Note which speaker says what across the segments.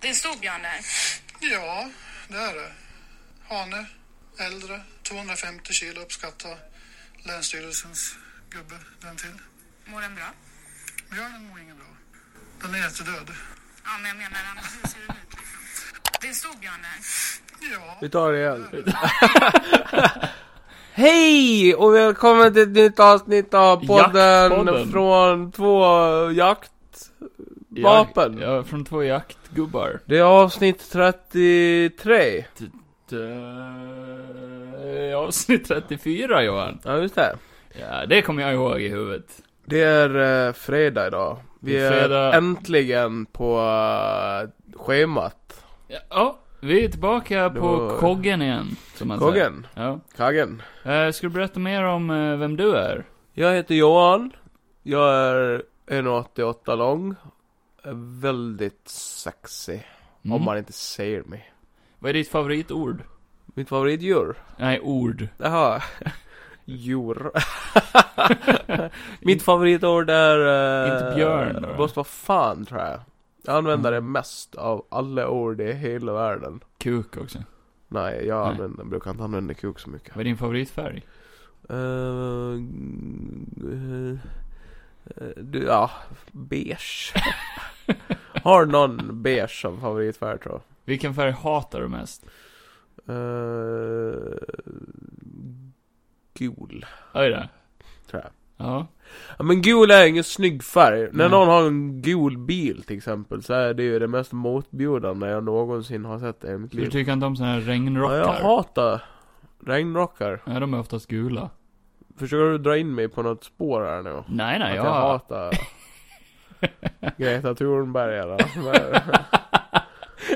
Speaker 1: Det är en stor björn där.
Speaker 2: Ja, det är det. Hane, äldre, 250 kilo uppskattar länsstyrelsens gubbe den till.
Speaker 1: Mår den bra?
Speaker 2: Björnen mår inget bra. Den är jättedöd.
Speaker 1: Ja, men jag menar annars hur ser den ut liksom? Det är en stor björn där.
Speaker 2: Ja,
Speaker 3: Vi tar det igen. Hej och välkommen till ett nytt avsnitt av podden,
Speaker 4: Jaktpodden.
Speaker 3: från två jaktvapen.
Speaker 4: Jag, ja, från två jaktgubbar.
Speaker 3: Det är avsnitt 33.
Speaker 4: Uh, avsnitt 34 Johan.
Speaker 3: Ja, just det.
Speaker 4: Ja, det kommer jag ihåg i huvudet.
Speaker 3: Det är eh, fredag idag. Vi
Speaker 4: Det är
Speaker 3: är
Speaker 4: fredag.
Speaker 3: äntligen på eh, schemat.
Speaker 4: Ja, Ja, vi är tillbaka
Speaker 3: Det
Speaker 4: på
Speaker 3: var-
Speaker 4: koggen igen. Som man säger.
Speaker 3: Koggen.
Speaker 4: Ja.
Speaker 3: Kaggen.
Speaker 4: Eh, ska du berätta mer om eh, vem du är?
Speaker 3: Jag heter Johan. Jag är 1,88 lång. Är Väldigt sexy.
Speaker 4: Mm.
Speaker 3: Om man inte ser mig.
Speaker 4: Vad är ditt favoritord?
Speaker 3: Mitt favoritdjur.
Speaker 4: Nej, ord.
Speaker 3: Jaha. Djur. Mitt favoritord är... eh,
Speaker 4: Inte björn, Mm. då?
Speaker 3: Måste vara fan tror jag. Jag använder det mest av alla ord i hela världen.
Speaker 4: Kuk också.
Speaker 3: Nej, jag
Speaker 4: Nej.
Speaker 3: Använder, brukar inte använda kuk så mycket.
Speaker 4: Vad är din favoritfärg?
Speaker 3: Eh, eh, eh, du, ja, beige. Har någon beige som favoritfärg tror jag.
Speaker 4: Vilken färg hatar du mest?
Speaker 3: Eh, gul,
Speaker 4: Oj då.
Speaker 3: tror jag.
Speaker 4: Ja.
Speaker 3: Ja, men gul är ingen snygg färg. När
Speaker 4: Nej.
Speaker 3: någon har en gul bil till exempel så är det ju det mest motbjudande jag någonsin har sett i mitt
Speaker 4: Så du
Speaker 3: liv.
Speaker 4: tycker inte om såna här
Speaker 3: Ja,
Speaker 4: regnrockar?
Speaker 3: jag hatar regnrockar.
Speaker 4: Ja, de är oftast gula.
Speaker 3: Försöker du dra in mig på något spår här nu?
Speaker 4: Nej, nej,
Speaker 3: att
Speaker 4: jag...
Speaker 3: jag hatar Greta Thunberg eller?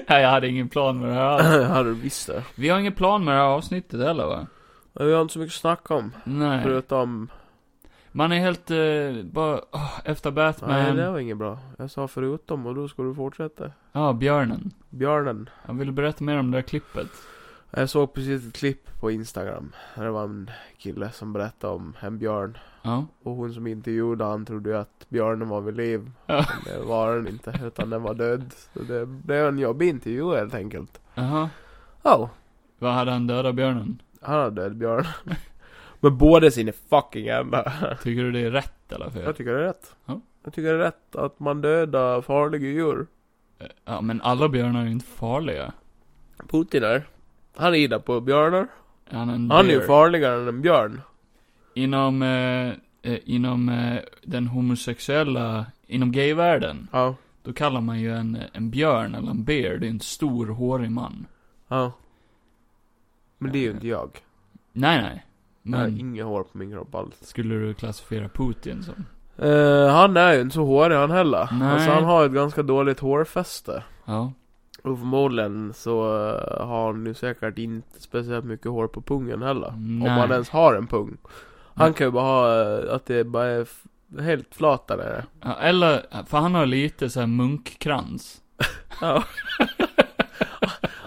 Speaker 4: nej, jag hade ingen plan med det här alls.
Speaker 3: Men- Hade du visst det?
Speaker 4: Vi har ingen plan med det här avsnittet heller va?
Speaker 3: Men vi har inte så mycket att snacka om.
Speaker 4: Nej.
Speaker 3: Förutom...
Speaker 4: Man är helt, eh, bara, åh, efter
Speaker 3: Nej,
Speaker 4: Batman.
Speaker 3: det
Speaker 4: Ja,
Speaker 3: var inget bra. Jag sa förutom och då ska du fortsätta.
Speaker 4: björnen.
Speaker 3: Björnen.
Speaker 4: Jag ville berätta mer om det där klippet.
Speaker 3: Jag såg precis ett klipp på Instagram. Där det var en kille som berättade om en björn.
Speaker 4: Ja.
Speaker 3: Och hon som intervjuade han trodde ju att björnen var vid liv.
Speaker 4: Ja.
Speaker 3: Men det var den inte, utan den var död. Så det blev en jobbig intervju helt enkelt.
Speaker 4: Jaha.
Speaker 3: Ja. Oh.
Speaker 4: Vad hade han dödat björnen?
Speaker 3: Han har död björn. Med båda sina fucking ändar.
Speaker 4: Tycker du det är rätt eller
Speaker 3: Jag
Speaker 4: fel?
Speaker 3: tycker det är rätt.
Speaker 4: Ja.
Speaker 3: Jag tycker det är rätt att man dödar farliga djur.
Speaker 4: Ja, men alla björnar är ju inte farliga.
Speaker 3: Putin är. Han rider på björnar.
Speaker 4: Han är en
Speaker 3: Han är ju
Speaker 4: bear.
Speaker 3: farligare än en björn.
Speaker 4: Inom, eh, eh, inom eh, den homosexuella, inom gayvärlden,
Speaker 3: Ja.
Speaker 4: då kallar man ju en, en björn eller en bear, det är en stor hårig man.
Speaker 3: Ja. Men det är ju inte jag.
Speaker 4: Nej, nej.
Speaker 3: Jag har
Speaker 4: Men
Speaker 3: inga hår på min kropp alls.
Speaker 4: skulle du klassificera Putin som?
Speaker 3: Eh, han är ju inte så hårig han heller.
Speaker 4: Nej.
Speaker 3: Alltså han har ett ganska dåligt hårfäste.
Speaker 4: Ja.
Speaker 3: Och förmodligen så eh, har han ju säkert inte speciellt mycket hår på pungen heller. Om
Speaker 4: Nej.
Speaker 3: han ens har en pung. Han
Speaker 4: Nej.
Speaker 3: kan ju bara ha eh, att det bara är f- helt flat där nere.
Speaker 4: Ja, eller, för han har lite så här munkkrans.
Speaker 3: Ja. Han är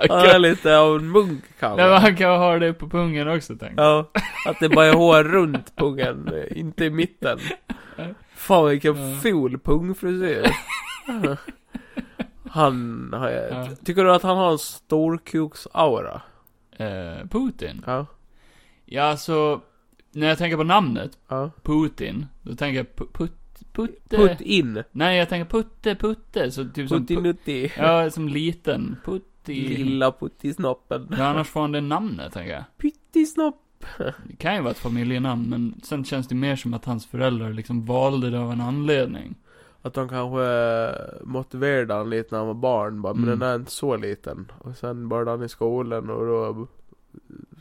Speaker 4: Okay.
Speaker 3: lite av en munk
Speaker 4: Nej, men
Speaker 3: kanske.
Speaker 4: han kan ha det på pungen också, tänk.
Speaker 3: Ja, att det bara är hår runt pungen, eh, inte i mitten. Fan vilken
Speaker 4: Ja.
Speaker 3: ful pungfrisyr. Han har jag...
Speaker 4: Ja.
Speaker 3: Tycker du att han har en storkuksaura?
Speaker 4: Eh, Putin.
Speaker 3: Ja.
Speaker 4: Ja, alltså, när jag tänker på namnet,
Speaker 3: Ja.
Speaker 4: Putin, då tänker jag pu- put, putte.
Speaker 3: Putt in.
Speaker 4: Nej, jag tänker putte, putte, så typ som... pu-
Speaker 3: Puttinutti.
Speaker 4: ja, som liten. Putti.
Speaker 3: Lilla puttisnoppen.
Speaker 4: Ja, annars får han det namnet, tänker jag.
Speaker 3: Pyttisnopp.
Speaker 4: Det kan ju vara ett familjenamn, men sen känns det mer som att hans föräldrar liksom valde det av en anledning.
Speaker 3: Att de kanske eh, motiverade han lite när han var barn. Bara, Men
Speaker 4: Mm.
Speaker 3: den är inte så liten. Och sen började han i skolan och då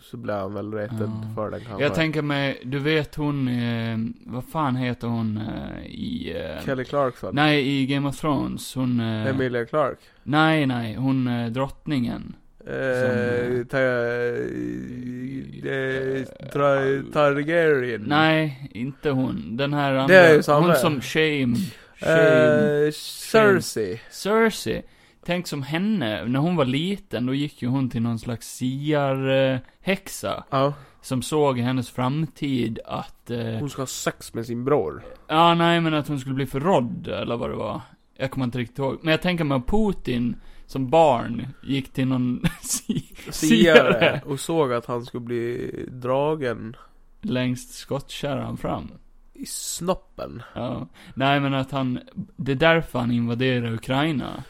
Speaker 3: så blev han väl retad
Speaker 4: Ja.
Speaker 3: för den kanske.
Speaker 4: Jag tänker mig, du vet hon, eh, vad fan heter hon eh, i... Eh,
Speaker 3: Kelly Clarkson.
Speaker 4: nej, i Game of Thrones. Hon... Eh,
Speaker 3: Emilia Clark.
Speaker 4: nej, nej, hon eh, drottningen.
Speaker 3: Eh,
Speaker 4: eh,
Speaker 3: ta, eh, tra, Targaryen.
Speaker 4: Nej, inte hon. Den här andra.
Speaker 3: Mm. Det är ju samma.
Speaker 4: Hon som Shame. Shame.
Speaker 3: Eh, Cersei.
Speaker 4: Cersei. Tänk som henne, när hon var liten, då gick ju hon till någon slags siar-häxa.
Speaker 3: Ja.
Speaker 4: Som såg i hennes framtid att... Eh,
Speaker 3: Hon ska ha sex med sin bror.
Speaker 4: Ja, nej men att hon skulle bli förrådd, eller vad det var. Jag kommer inte riktigt ihåg. Men jag tänker mig att Putin som barn gick till någon si-
Speaker 3: Siare och såg att han skulle bli dragen
Speaker 4: längst skottkärran fram.
Speaker 3: i snoppen.
Speaker 4: Ja. Nej men att han, det är därför han invaderar Ukraina.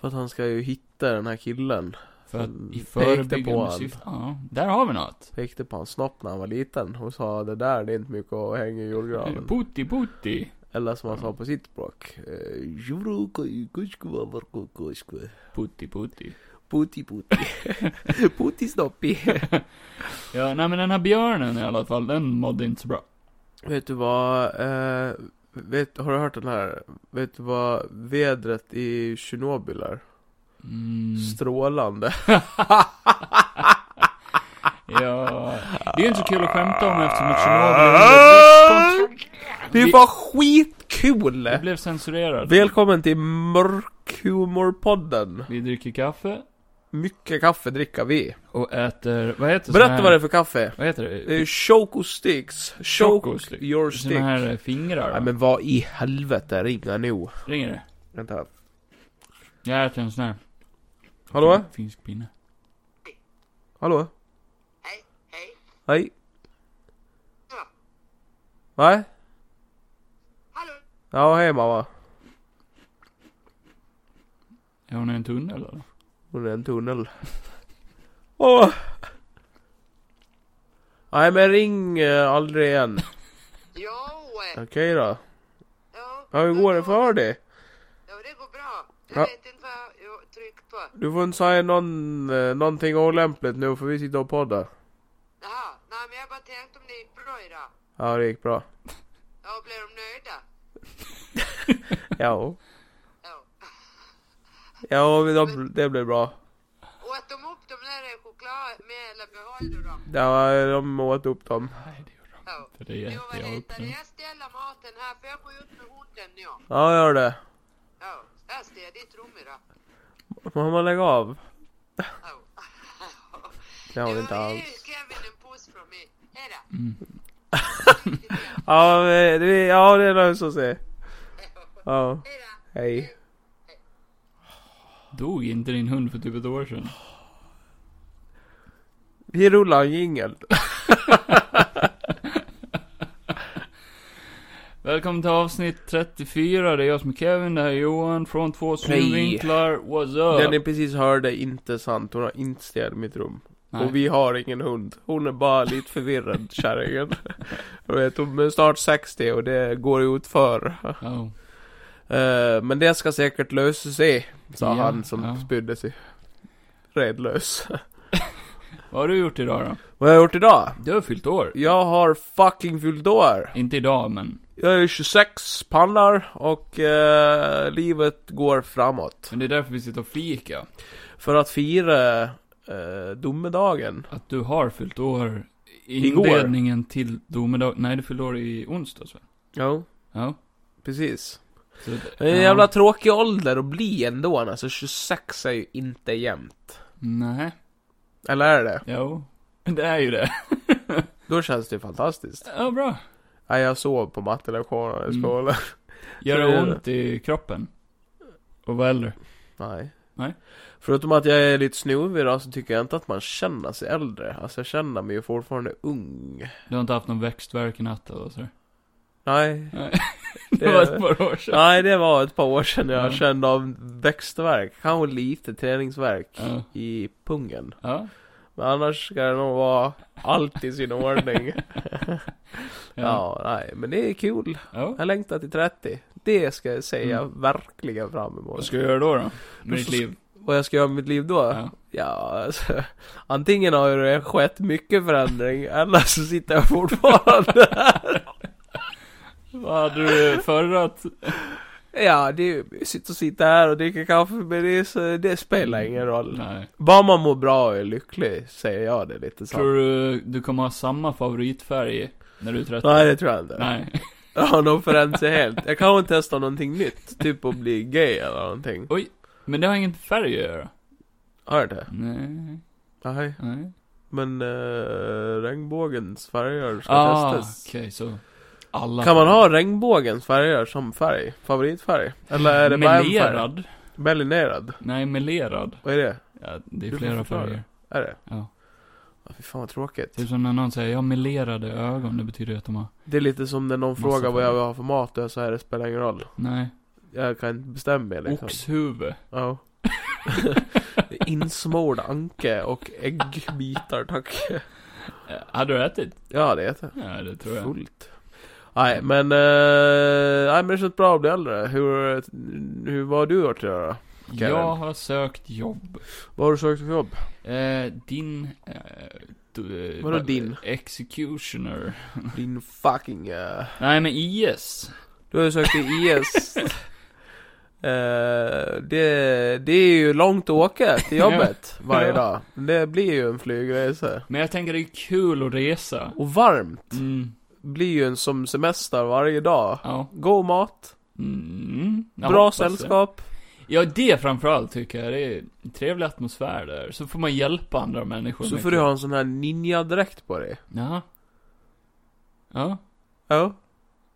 Speaker 3: För att han ska ju hitta den här killen.
Speaker 4: För att
Speaker 3: Mm,
Speaker 4: i
Speaker 3: pekte på
Speaker 4: förebyggande
Speaker 3: han.
Speaker 4: syfte. Ja, där har vi något.
Speaker 3: Pekade på hans snopp när han var liten och sa det där det är inte mycket att hänga i jordgraven.
Speaker 4: Putti putti.
Speaker 3: Eller som han sa på sitt språk. eh, "Juroko i kuskova varkokosko.
Speaker 4: Putti putti.
Speaker 3: Puti puti. Puti snoppi.
Speaker 4: Ja, nej men den här björnen i alla fall, den mådde inte så bra.
Speaker 3: Vet du vad, eh, vet, har du hört den här? Vet du vad vädret i Tjernobyl är?
Speaker 4: Mm.
Speaker 3: Strålande.
Speaker 4: Ja, det är ju inte så kul att skämta om eftersom att Tjernobyl är under-
Speaker 3: Det var skitkul!
Speaker 4: Det blev censurerat.
Speaker 3: Välkommen till Mörkhumorpodden.
Speaker 4: Vi dricker kaffe
Speaker 3: Mycket kaffe dricker vi.
Speaker 4: och äter, vad heter sån
Speaker 3: Berätta
Speaker 4: Alltså, här,
Speaker 3: vad det är för kaffe.
Speaker 4: Vad heter det?
Speaker 3: Eh, Choco sticks. Choco
Speaker 4: Choco stick.
Speaker 3: your
Speaker 4: Såna
Speaker 3: stick.
Speaker 4: här eh, fingrar.
Speaker 3: Nej men vad i helvete, ringa nu.
Speaker 4: Ringer det?
Speaker 3: Vänta.
Speaker 4: Jag äter en sån här.
Speaker 3: Hallå?
Speaker 4: fin- Finsk pinne.
Speaker 3: Hallå?
Speaker 1: Hej, hej.
Speaker 3: Hej?
Speaker 1: Ja.
Speaker 3: Nej?
Speaker 1: Hallå.
Speaker 3: Ja, hej mamma.
Speaker 4: Är hon i en tunnel eller?
Speaker 3: Hon är en tunnel. Åh! Nej men ring eh, aldrig igen.
Speaker 1: Jo, eh,
Speaker 3: Okej då.
Speaker 1: ja.
Speaker 3: Ja, hur går det för dig?
Speaker 1: Ja, det går bra. Jag
Speaker 3: Ja.
Speaker 1: vet inte vad jag har tryckt på.
Speaker 3: Du får inte säga någon, eh, någonting olämpligt nu för vi sitter och poddar.
Speaker 1: Jaha, nej men jag bara tänkte om det gick bra idag.
Speaker 3: Ja, det gick bra.
Speaker 1: Ja, blir de nöjda?
Speaker 3: Ja.
Speaker 1: Ja.
Speaker 3: Ja, men de, det blev bra.
Speaker 1: Åt de upp de där choklad med eller behöll du dem?
Speaker 3: Ja, de åt upp dem.
Speaker 4: Nej, det gjorde
Speaker 1: Ja.
Speaker 4: de inte. Det är
Speaker 1: Jo, vad heter det?
Speaker 4: jättejobbigt.
Speaker 1: Jag ställer maten här för jag går ut med hunden nu.
Speaker 3: Ja, gör det.
Speaker 1: Ja, jag ställer ditt rum idag.
Speaker 3: Mamma, lägg av.
Speaker 1: Ja.
Speaker 3: Det har vi inte
Speaker 1: Ja, nu
Speaker 3: alls. Mm.
Speaker 1: ger Kevin en puss från mig. Hejdå.
Speaker 3: Ja, men det, ja, det är något som säger. Ja,
Speaker 1: Hejdå.
Speaker 3: hej.
Speaker 4: Dog inte din hund för typ ett år sedan?
Speaker 3: Vi rullar en jingel.
Speaker 4: Välkommen till avsnitt 34, det är jag som är Kevin, det här är Johan från två synvinklar, what's
Speaker 3: Den
Speaker 4: up?
Speaker 3: ni precis hörde är inte sant. Hon har inte städat mitt rum.
Speaker 4: Nej.
Speaker 3: Och vi har ingen hund. Hon är bara lite förvirrad, kärringen. Jag vet, hon är snart 60 och det går ut för.
Speaker 4: Ja.
Speaker 3: Eh, men det ska säkert lösa sig, sa
Speaker 4: Ja,
Speaker 3: han som
Speaker 4: ja.
Speaker 3: spydde sig redlös.
Speaker 4: Vad har du gjort idag då?
Speaker 3: Vad har jag gjort idag?
Speaker 4: Du har fyllt år.
Speaker 3: Jag har fucking fyllt år.
Speaker 4: Inte idag, men.
Speaker 3: Jag är 26 pallar och eh, livet går framåt.
Speaker 4: Men det är därför vi sitter och fika.
Speaker 3: För att fira eh, domedagen.
Speaker 4: Att du har fyllt år i
Speaker 3: Igår.
Speaker 4: inledningen till domedag. Nej, du fyllde år i onsdags va?
Speaker 3: Ja,
Speaker 4: Ja.
Speaker 3: precis.
Speaker 4: Så,
Speaker 3: Det är en
Speaker 4: ja.
Speaker 3: jävla tråkig ålder att bli ändå. Alltså 26 är ju inte jämnt.
Speaker 4: Nej.
Speaker 3: Eller är det
Speaker 4: Jo. Det är ju det.
Speaker 3: Då känns det ju fantastiskt.
Speaker 4: Ja, bra.
Speaker 3: Nej, jag sov på mattelektionerna i
Speaker 4: Mm.
Speaker 3: skolan.
Speaker 4: Gör
Speaker 3: Så det är
Speaker 4: det ont i kroppen? Och vara äldre?
Speaker 3: Nej.
Speaker 4: Nej.
Speaker 3: Förutom att jag är lite snuvig då, så tycker jag inte att man känner sig äldre. Alltså jag känner mig ju fortfarande ung.
Speaker 4: Du har inte haft någon växtvärk i natt eller så?
Speaker 3: Nej.
Speaker 4: Nej.
Speaker 3: Det-
Speaker 4: Det var ett par år sedan.
Speaker 3: Nej, det var ett par år sedan jag
Speaker 4: Ja.
Speaker 3: kände av växtvärk. Kanske lite träningsvärk
Speaker 4: Ja.
Speaker 3: i pungen.
Speaker 4: Ja.
Speaker 3: Men annars ska det nog vara allt i sin ordning.
Speaker 4: Ja.
Speaker 3: ja, nej, men det är kul.
Speaker 4: ja.
Speaker 3: Jag längtar till 30. Det ska jag säga verkligen fram emot.
Speaker 4: Mm. Vad ska du göra då då? Med ditt
Speaker 3: så-
Speaker 4: liv?
Speaker 3: Vad jag ska göra med mitt liv då?
Speaker 4: Ja.
Speaker 3: Ja, alltså, antingen har det skett mycket förändring, eller så sitter jag fortfarande här.
Speaker 4: Vad hade du förrat?
Speaker 3: Ja, det är ju mysigt att sitta här och dricka kaffe, men det, är så, det spelar ingen roll.
Speaker 4: Mm. Nej.
Speaker 3: Bara man mår bra och är lycklig, säger jag det lite
Speaker 4: Tror
Speaker 3: så.
Speaker 4: du du kommer ha samma favoritfärg när du är 30?
Speaker 3: Nej, det tror jag inte.
Speaker 4: Nej.
Speaker 3: Jag har nog förändrat sig helt. Jag kan inte testa någonting nytt, typ att bli gay eller någonting.
Speaker 4: Oj. Men det har inget med färg att göra?
Speaker 3: Har jag det?
Speaker 4: Nej.
Speaker 3: Nej.
Speaker 4: Nej.
Speaker 3: Men eh, regnbågens färger ska
Speaker 4: Ah, okej
Speaker 3: testas.
Speaker 4: så. alla
Speaker 3: Kan man ha regnbågens färger som färg? Favoritfärg? Eller är det bara en färg?
Speaker 4: Melerad?
Speaker 3: Melinerad?
Speaker 4: Nej, melerad.
Speaker 3: Vad är det?
Speaker 4: Ja,
Speaker 3: Du
Speaker 4: det
Speaker 3: får
Speaker 4: är flera
Speaker 3: förklara.
Speaker 4: färger.
Speaker 3: Är det?
Speaker 4: Ja.
Speaker 3: Ja, fy fan vad tråkigt.
Speaker 4: Typ som när någon säger, jag har melerade ögon, det betyder ju att de har...
Speaker 3: Det är lite som när någon
Speaker 4: Massa
Speaker 3: frågar vad jag
Speaker 4: färger.
Speaker 3: vill ha för mat och jag säger det spelar ingen roll.
Speaker 4: Nej.
Speaker 3: Jag kan inte bestämma mig liksom.
Speaker 4: Oxhuvud.
Speaker 3: Ja. Insmord anke och äggbitar tack.
Speaker 4: Eh, Hade du ätit?
Speaker 3: Ja det heter
Speaker 4: Ja, det tror
Speaker 3: jag.
Speaker 4: jag.
Speaker 3: Fullt. Nej men, eh, nej men det känns bra att bli äldre. Hur, hur, vad har du gjort idag då? Kevin.
Speaker 4: Jag har sökt jobb.
Speaker 3: Vad har du sökt för jobb?
Speaker 4: Eh, din... Eh, du,
Speaker 3: Vadå din?
Speaker 4: Executioner.
Speaker 3: Din fucking... eh,
Speaker 4: Nej, men IS.
Speaker 3: Du har ju sökt till IS. Eh, det, det är ju långt att åka till jobbet varje
Speaker 4: Ja.
Speaker 3: dag. Det blir ju en flygresa.
Speaker 4: Men jag tänker det är kul att resa.
Speaker 3: Och varmt
Speaker 4: Mm.
Speaker 3: blir ju en som semester varje dag.
Speaker 4: Ja.
Speaker 3: God mat,
Speaker 4: Mm. Jag
Speaker 3: bra
Speaker 4: hoppas det.
Speaker 3: sällskap.
Speaker 4: Ja, det framförallt tycker jag. Det är en trevlig atmosfär där. Så får man hjälpa andra människor.
Speaker 3: Så
Speaker 4: mycket.
Speaker 3: får du ha en sån här ninja-dräkt på dig.
Speaker 4: Ja. Ja.
Speaker 3: Ja,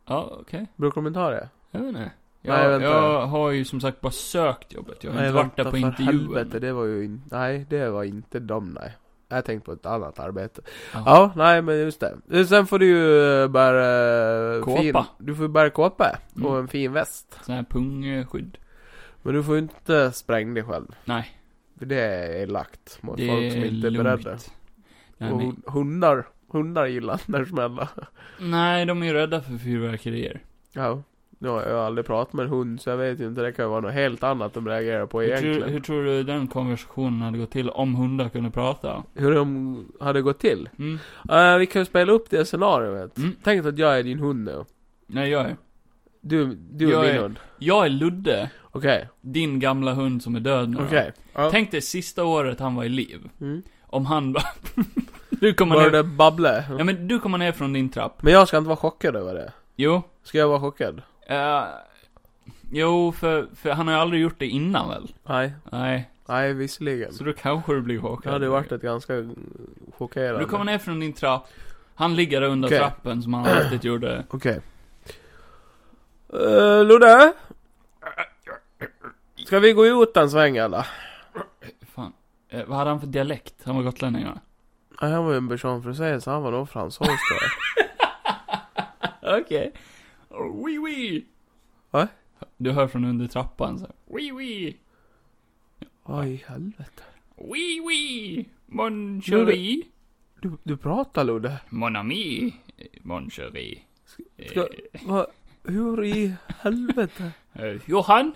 Speaker 4: Ja, okej.
Speaker 3: brukar de inte ha det?
Speaker 4: Jag vet inte.
Speaker 3: Nej,
Speaker 4: Jag,
Speaker 3: vänta.
Speaker 4: jag har ju som sagt bara sökt jobbet. Jag har inte varit där på
Speaker 3: helvete,
Speaker 4: intervjun.
Speaker 3: det var ju in... Nej, det var inte dem, nej. Jag tänkte på ett annat arbete.
Speaker 4: Ja.
Speaker 3: Ja, nej men just det. Sen får du ju eh, bära... eh,
Speaker 4: Kåpa.
Speaker 3: Fin... Du får ju bära kåpa.
Speaker 4: Mm.
Speaker 3: Och en fin väst.
Speaker 4: Sån här pungskydd.
Speaker 3: Men du får ju inte spränga dig själv.
Speaker 4: Nej.
Speaker 3: För det är elakt mot
Speaker 4: Det
Speaker 3: folk som
Speaker 4: är
Speaker 3: inte är beredda.
Speaker 4: lugnt. Nej,
Speaker 3: och
Speaker 4: men,
Speaker 3: hun- hundar, hundar gillar när det smäller.
Speaker 4: nej, de är ju rädda för fyrverkerier.
Speaker 3: Ja. Nu har jag aldrig pratat med en hund så jag vet ju inte, det kan ju vara något helt annat de reagerar på
Speaker 4: Hur tror,
Speaker 3: egentligen.
Speaker 4: hur
Speaker 3: Hur,
Speaker 4: tror du den konversationen hade gått till om hundar kunde prata?
Speaker 3: de hade gått till?
Speaker 4: Mm.
Speaker 3: Eh, vi kan ju spela upp det scenariot.
Speaker 4: Mm.
Speaker 3: Tänk dig att jag är din hund nu.
Speaker 4: Nej, jag är.
Speaker 3: Du, du
Speaker 4: Jag
Speaker 3: är min
Speaker 4: är-
Speaker 3: hund.
Speaker 4: Jag är Ludde,
Speaker 3: Okej,
Speaker 4: din gamla hund som är död nu. då.
Speaker 3: okej. Ja.
Speaker 4: Tänk dig sista året han var i liv.
Speaker 3: Mm.
Speaker 4: Om han bara... du kommer ner...
Speaker 3: Började babbla.
Speaker 4: Ja, men du kommer ner från din trapp.
Speaker 3: Men jag ska inte vara chockad över det.
Speaker 4: Jo.
Speaker 3: Ska jag vara chockad?
Speaker 4: eh, jo, för, för han har ju aldrig gjort det innan väl?
Speaker 3: Nej.
Speaker 4: Nej.
Speaker 3: Nej, visserligen.
Speaker 4: Så då kanske du blir
Speaker 3: Det
Speaker 4: chockad.
Speaker 3: hade ju varit ett ganska chockerande.
Speaker 4: Du kommer ner från din trapp. Han ligger där under
Speaker 3: Okej.
Speaker 4: trappen som han alltid gjorde.
Speaker 3: Okej. Eh, Ludde? Ska vi gå ut en sväng eller?
Speaker 4: Fan. Eh, vad hade han för dialekt? Han var gotlänning va?
Speaker 3: Nej, han var ju en person för sig så han var nog fransos tror jag.
Speaker 4: Okej. Oh, oui, oui.
Speaker 3: Va?
Speaker 4: Du hör från under trappan så. här, Oui, oui.
Speaker 3: Oj, helvete.
Speaker 4: Oui, oui. Mon
Speaker 3: Nu är det-
Speaker 4: chéri.
Speaker 3: Du, du pratar Ludde.
Speaker 4: Mon ami. eh, Mon chéri. Eh,
Speaker 3: Ska, va, hur i helvete?
Speaker 4: eh, Johan.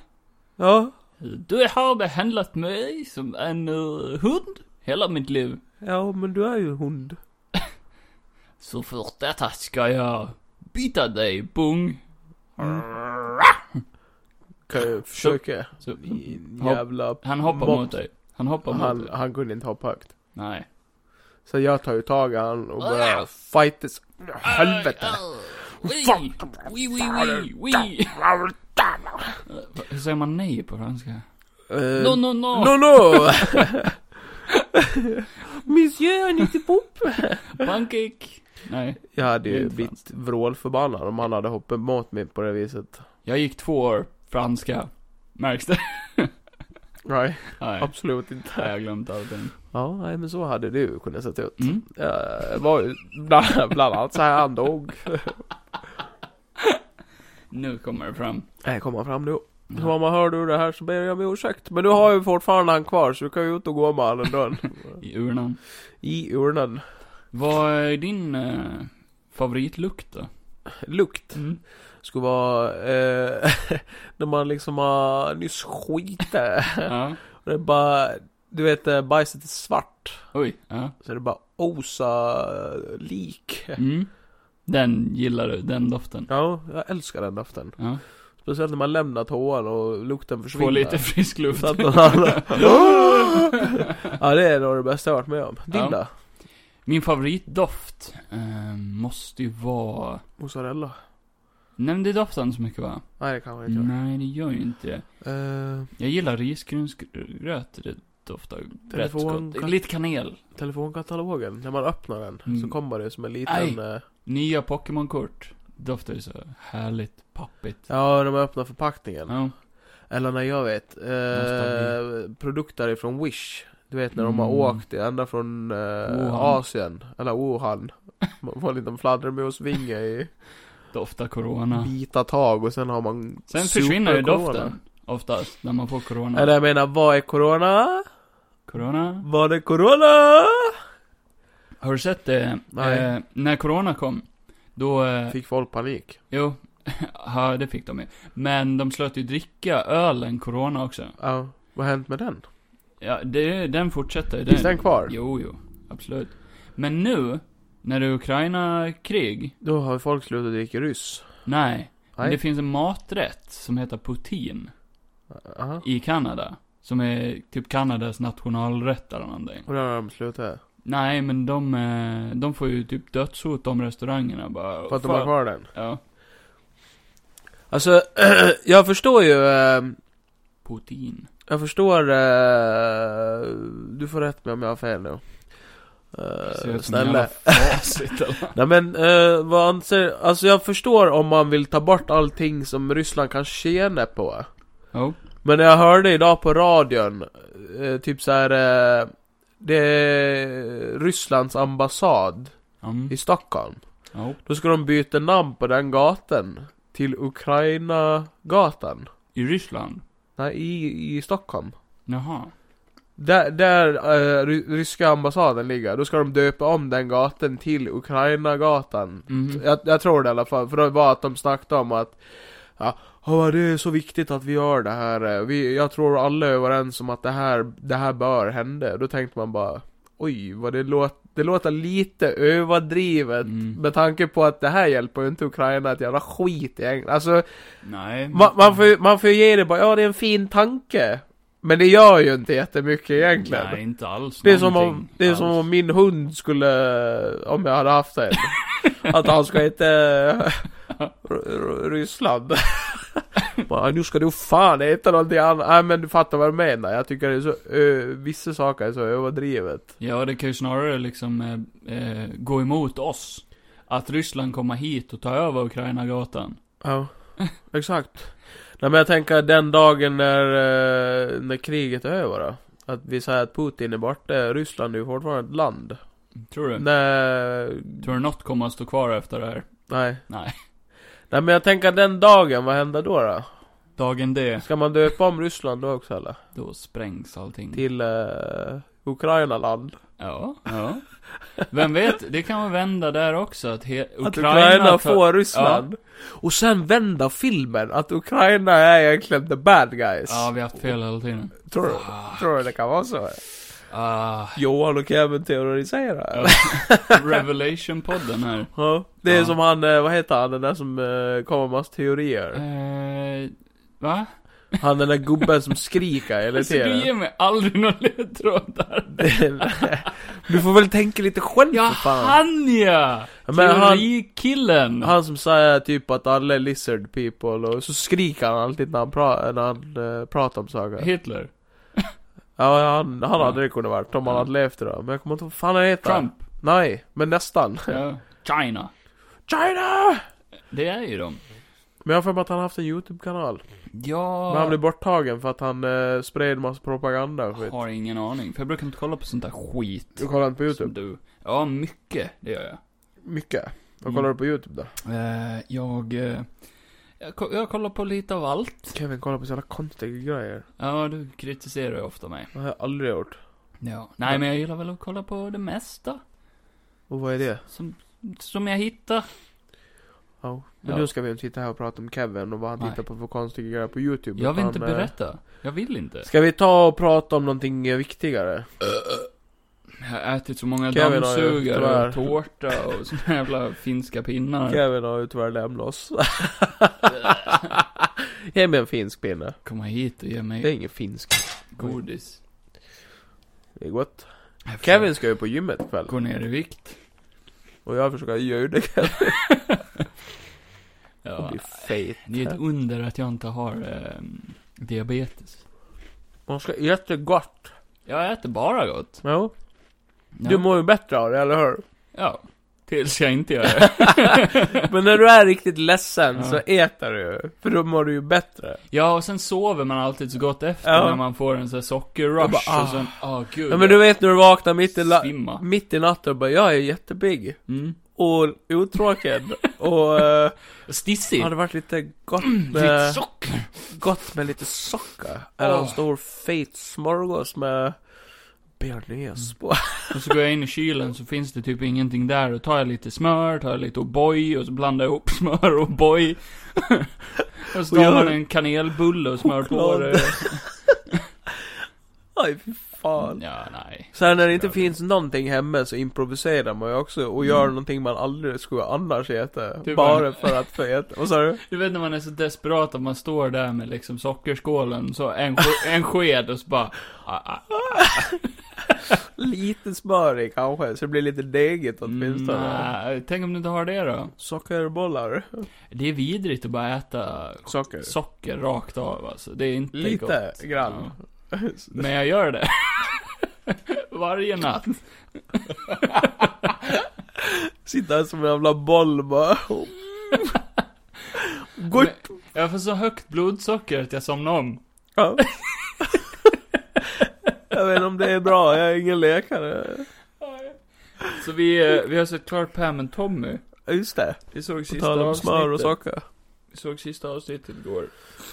Speaker 3: Ja,
Speaker 4: Du har behandlat mig som en eh, hund hela mitt liv.
Speaker 3: ja men du är ju hund.
Speaker 4: Så för detta ska jag bita dig, bung.
Speaker 3: Kan jag försöka.
Speaker 4: Så,
Speaker 3: Din
Speaker 4: hopp-
Speaker 3: jävla...
Speaker 4: Mm, han hoppar
Speaker 3: Mops.
Speaker 4: mot dig. Han hoppar mot
Speaker 3: Han,
Speaker 4: dig.
Speaker 3: han kunde inte hoppa högt.
Speaker 4: Nej.
Speaker 3: Så jag tar ju tag i han och börjar
Speaker 4: Ah.
Speaker 3: fightas. Helvete.
Speaker 4: Äh, Ui, ui, ui, ui, ui. Hur säger man nej på franska?
Speaker 3: Eh,
Speaker 4: No, no, no.
Speaker 3: No, no! Monsieur, han inte pop!
Speaker 4: Pancake. Nej.
Speaker 3: Jag hade
Speaker 4: Det är
Speaker 3: ju
Speaker 4: inte
Speaker 3: blivit
Speaker 4: franskt.
Speaker 3: vrålförbannad om han hade hoppat mot mig på det viset.
Speaker 4: Jag gick två år franska. Märks det?
Speaker 3: Nej,
Speaker 4: Nej.
Speaker 3: absolut
Speaker 4: Nej, jag
Speaker 3: inte.
Speaker 4: har glömt allting.
Speaker 3: Ja, nej men så hade det ju kunnat se ut.
Speaker 4: Mm.
Speaker 3: Jag Eh, var ju bland, bland annat så här han dog.
Speaker 4: Nu kommer det fram.
Speaker 3: Nej, kom han fram nu. Så om man hör du det här så ber jag om ursäkt. Men du har ju fortfarande han kvar så du kan ju ut och gå med han ändå.
Speaker 4: I urnan.
Speaker 3: I urnen.
Speaker 4: Vad är din eh, favoritlukt då?
Speaker 3: Lukt. Ska vara, eh, när man liksom har nyss skitit.
Speaker 4: Ja.
Speaker 3: Och Det är bara, du vet eh, bajset är svart.
Speaker 4: Oj. Ja.
Speaker 3: Så det är bara osa eh, lik.
Speaker 4: Mm. Den gillar du, den doften.
Speaker 3: Ja, jag älskar den doften.
Speaker 4: Ja.
Speaker 3: Speciellt när man lämnar toan och lukten försvinner.
Speaker 4: Få lite frisk luft.
Speaker 3: Så att någon annan- ja det är nog det bästa jag varit med om. Din
Speaker 4: Ja.
Speaker 3: då?
Speaker 4: Min favoritdoft eh, måste ju vara...
Speaker 3: Mozzarella?
Speaker 4: Nämnde doften så mycket va?
Speaker 3: Nej det kanske jag inte gör.
Speaker 4: Nej, det gör ju inte det.
Speaker 3: Eh,
Speaker 4: Jag gillar risgrynsgröt. Det doftar rätt
Speaker 3: Telefon-
Speaker 4: gott. Lite kanel.
Speaker 3: telefonkatalogen, när man öppnar den
Speaker 4: Mm.
Speaker 3: så kommer det som en
Speaker 4: Aj.
Speaker 3: liten... eh,
Speaker 4: Nya Pokémon-kort. doftar ju så härligt pappigt.
Speaker 3: Ja, de har öppnat förpackningen.
Speaker 4: Ja.
Speaker 3: Eller när jag vet, eh,
Speaker 4: Nostalgi.
Speaker 3: produkter ifrån Wish. Du vet när de har
Speaker 4: Mm.
Speaker 3: åkt ända från eh,
Speaker 4: Wuhan.
Speaker 3: Asien, eller Wuhan. Man får en liten fladdermusvinge i
Speaker 4: Doftar corona.
Speaker 3: bita tag och sen har man
Speaker 4: Sen försvinner ju
Speaker 3: supercorona.
Speaker 4: doften. Oftast, när man får corona.
Speaker 3: Eller jag menar, vad är corona?
Speaker 4: Corona.
Speaker 3: Vad är corona?
Speaker 4: Har du sett det?
Speaker 3: Nej.
Speaker 4: Eh, när corona kom, då... Eh,
Speaker 3: Fick folk panik?
Speaker 4: Jo, ja, det fick de ju. Men de slöt ju dricka ölen corona också.
Speaker 3: Ja, vad har hänt med den?
Speaker 4: Ja, det, den fortsätter.
Speaker 3: Finns den kvar?
Speaker 4: Jo, jo. Absolut. Men nu, när det är Ukraina-krig,
Speaker 3: Då har folk slutat dricka ryss.
Speaker 4: nej. Men
Speaker 3: Nej.
Speaker 4: det finns en maträtt som heter poutine
Speaker 3: Aha.
Speaker 4: i Kanada. Som är typ Kanadas nationalrätt eller någonting.
Speaker 3: Och där har de slutat.
Speaker 4: Nej, men de, eh, de får ju typ dödshot de restaurangerna bara.
Speaker 3: För att de har kvar den.
Speaker 4: Ja.
Speaker 3: Alltså, jag förstår ju... eh,
Speaker 4: Poutine.
Speaker 3: Jag förstår, eh, du får rätt mig om jag har fel nu.
Speaker 4: Det ser
Speaker 3: Eh,
Speaker 4: ut som en jävla
Speaker 3: snälla.
Speaker 4: facit eller?
Speaker 3: Nej men, eh, vad anser, alltså jag förstår om man vill ta bort allting som Ryssland kan tjäna på.
Speaker 4: Jo.
Speaker 3: Men jag hörde idag på radion, eh, typ så här. Eh, det är Rysslands ambassad
Speaker 4: Mm.
Speaker 3: i Stockholm.
Speaker 4: Jo.
Speaker 3: Då ska de byta namn på den gatan till Ukraina-gatan.
Speaker 4: I Ryssland?
Speaker 3: Nej, i, i Stockholm.
Speaker 4: Jaha.
Speaker 3: Där, där eh, ry- ryska ambassaden ligger, då ska de döpa om den gatan till Ukraina-gatan.
Speaker 4: Mhm.
Speaker 3: Jag, jag tror det i alla fall, för det var att de snackade om att Ja, "Åh, det är så viktigt att vi gör det här. eh, Vi, jag tror alla är överens om att det här, det här bör hända. Då tänkte man bara, oj, vad det låter, det låter lite överdrivet.
Speaker 4: Mm.
Speaker 3: Med tanke på att det här hjälper ju inte Ukraina att göra skit egentligen. Alltså,
Speaker 4: Nej.
Speaker 3: man, man, får, ju- man får ju ge det bara, ja det är en fin tanke. Men det gör ju inte jättemycket egentligen.
Speaker 4: Nej, inte alls.
Speaker 3: Det är, som om,
Speaker 4: någonting
Speaker 3: det är
Speaker 4: alls.
Speaker 3: som om min hund skulle, om jag hade haft en, att han ska heta eh, R- R- Ryssland. Bara, nu ska du fan heta någonting annat. Nej men du fattar vad jag menar. Jag tycker det är så, ö, vissa saker är så överdrivet.
Speaker 4: Ja, det kan ju snarare liksom eh, eh, gå emot oss. Att Ryssland kommer hit och tar över Ukrainagatan.
Speaker 3: Ja, exakt. Nej men jag tänker den dagen när, eh, när kriget är över då. Att vi säger att Putin är borta, Ryssland är ju fortfarande ett land.
Speaker 4: Tror du?
Speaker 3: Nej,
Speaker 4: Tror du något kommer att stå kvar efter det här?
Speaker 3: nej.
Speaker 4: Nej.
Speaker 3: Nej men jag tänker den dagen, vad händer då då?
Speaker 4: Dagen D,
Speaker 3: Ska man döpa om Ryssland då också eller?
Speaker 4: då sprängs allting.
Speaker 3: Till eh, Ukraina-land?
Speaker 4: Ja, ja. Vem vet, det kan man vända där också. Att, he- Ukraina,
Speaker 3: Att Ukraina
Speaker 4: tar-
Speaker 3: får Ryssland? Och sen vända filmen, att Ukraina är egentligen the bad guys?
Speaker 4: Ja, vi har haft fel hela tiden.
Speaker 3: Tror du?
Speaker 4: Fuck.
Speaker 3: Tror du det kan vara så?
Speaker 4: Ah,
Speaker 3: Johan och Kevin terroriserar?
Speaker 4: ja. Revelation-podden här.
Speaker 3: Ja. Det är
Speaker 4: Ja.
Speaker 3: som han, eh, vad heter han, den där som eh, kommer med massa teorier?
Speaker 4: Eh, va?
Speaker 3: Han den där gubben som skriker hela
Speaker 4: Alltså, du ger
Speaker 3: tiden.
Speaker 4: mig aldrig några ledtrådar.
Speaker 3: Du får väl tänka lite själv
Speaker 4: Ja,
Speaker 3: för fan.
Speaker 4: han ja!
Speaker 3: Ja, men han-
Speaker 4: Teorikillen!
Speaker 3: Han som säger typ att alla är lizard people och så skriker han alltid när han, pra- när han eh, pratar om saker.
Speaker 4: Hitler.
Speaker 3: Ja, han, han hade
Speaker 4: Ja.
Speaker 3: det kunnat varit om han
Speaker 4: Ja.
Speaker 3: hade levt idag. Men jag kommer inte ihåg vad fan han heter.
Speaker 4: Trump.
Speaker 3: Nej, men nästan.
Speaker 4: Ja. China.
Speaker 3: China!
Speaker 4: Det är ju de.
Speaker 3: Men jag har för mig att han har haft en YouTube-kanal.
Speaker 4: Ja.
Speaker 3: Men han blev borttagen för att han eh, spred massa propaganda och skit.
Speaker 4: Har ingen aning. För jag brukar inte kolla på sånt där skit.
Speaker 3: Du kollar inte på
Speaker 4: Som
Speaker 3: YouTube?
Speaker 4: du. Ja, mycket. Det gör jag.
Speaker 3: Mycket. Vad
Speaker 4: Mm.
Speaker 3: kollar du på YouTube då?
Speaker 4: Eh, jag... eh, jag ko- Jag kollar på lite av allt.
Speaker 3: Kevin kollar på sådana konstiga grejer.
Speaker 4: Ja, du kritiserar ju ofta mig.
Speaker 3: Det har jag aldrig gjort.
Speaker 4: Ja. Nej, men jag gillar väl att kolla på det mesta.
Speaker 3: Och vad är det?
Speaker 4: Som, som jag hittar.
Speaker 3: Ja. Men
Speaker 4: Ja.
Speaker 3: nu ska vi inte sitta här och prata om Kevin och vad han
Speaker 4: Nej.
Speaker 3: tittar på för konstiga grejer på YouTube.
Speaker 4: Jag vill
Speaker 3: utan,
Speaker 4: inte
Speaker 3: eh,
Speaker 4: berätta. Jag vill inte.
Speaker 3: Ska vi ta och prata om någonting eh, viktigare?
Speaker 4: Jag har ätit så många
Speaker 3: Kevin har ju
Speaker 4: dammsugare
Speaker 3: tyvärr-
Speaker 4: och tårta och såna jävla finska pinnar.
Speaker 3: Kevin har ju tyvärr lämnat oss. Ge mig en finsk pinne.
Speaker 4: Komma hit och ge
Speaker 3: Det är
Speaker 4: mig
Speaker 3: ingen finsk.
Speaker 4: godis.
Speaker 3: Det är gott.
Speaker 4: Jag får
Speaker 3: Kevin ska ju på gymmet ikväll.
Speaker 4: Gå ner i vikt.
Speaker 3: Och jag försöker ljuda Kevin och
Speaker 4: Ja.
Speaker 3: bli fet.
Speaker 4: Det är ett under att jag inte har eh, diabetes.
Speaker 3: Man ska jättegott.
Speaker 4: Jag äter bara gott.
Speaker 3: Jo.
Speaker 4: Ja.
Speaker 3: Du mår ju bättre av det, eller hur?
Speaker 4: ja. Tills jag inte gör det.
Speaker 3: Men när du är riktigt ledsen så äter du ju. För då mår du ju bättre.
Speaker 4: Ja, och sen sover man alltid så gott efter
Speaker 3: Ja.
Speaker 4: när man får en sån här sockerrush
Speaker 3: Jag bara, ah.
Speaker 4: och sen, ah gud.
Speaker 3: Ja men du vet när du vaknar mitt i, la-
Speaker 4: Svimma.
Speaker 3: mitt i natten och bara, jag är jättepigg.
Speaker 4: Mm.
Speaker 3: Och uttråkad. och eh,
Speaker 4: Stissig.
Speaker 3: hade varit lite gott
Speaker 4: Lite
Speaker 3: med,
Speaker 4: socker.
Speaker 3: gott med lite socker. Eller en
Speaker 4: Åh.
Speaker 3: stor fet smörgås med bearnaise på.
Speaker 4: Och så går jag in i kylen så finns det typ ingenting där. Då tar jag lite smör, tar jag lite O'boy och så blandar jag ihop smör och O'boy. och så
Speaker 3: Och
Speaker 4: tar
Speaker 3: gör-
Speaker 4: man en kanelbulle och smör på
Speaker 3: Choklad.
Speaker 4: det.
Speaker 3: Aj fy fan.
Speaker 4: Ja, nej.
Speaker 3: Så här, när det inte finns någonting hemma så improviserar man ju också och gör någonting man aldrig skulle annars äta.
Speaker 4: Mm. Typ
Speaker 3: bara
Speaker 4: en-
Speaker 3: för att få äta. Vad sa du?
Speaker 4: Du vet när man är så desperat att man står där med liksom sockerskålen, så en, sk- en sked och så bara... Ah, ah,
Speaker 3: Lite smör i kanske, så det blir lite degigt åtminstone.
Speaker 4: "Mm, nej. Tänk om du inte har det då?
Speaker 3: Sockerbollar.
Speaker 4: Det är vidrigt att bara äta
Speaker 3: Socker.
Speaker 4: socker rakt av alltså. Det är inte
Speaker 3: Lite
Speaker 4: gott.
Speaker 3: grann.
Speaker 4: Ja. Men jag gör det. Varje natt.
Speaker 3: Sitta här som en jävla boll bara. Gott!
Speaker 4: Men Jag får så högt blodsocker att jag somnar om.
Speaker 3: Ja. Jag vet inte om det är bra, jag är ingen läkare.
Speaker 4: Så vi, eh, vi har sett klart Pam and Tommy.
Speaker 3: Ja, Just det,
Speaker 4: Vi såg
Speaker 3: på
Speaker 4: sista
Speaker 3: tal om
Speaker 4: avsnittet.
Speaker 3: smör och socker.
Speaker 4: Vi såg sista avsnittet igår.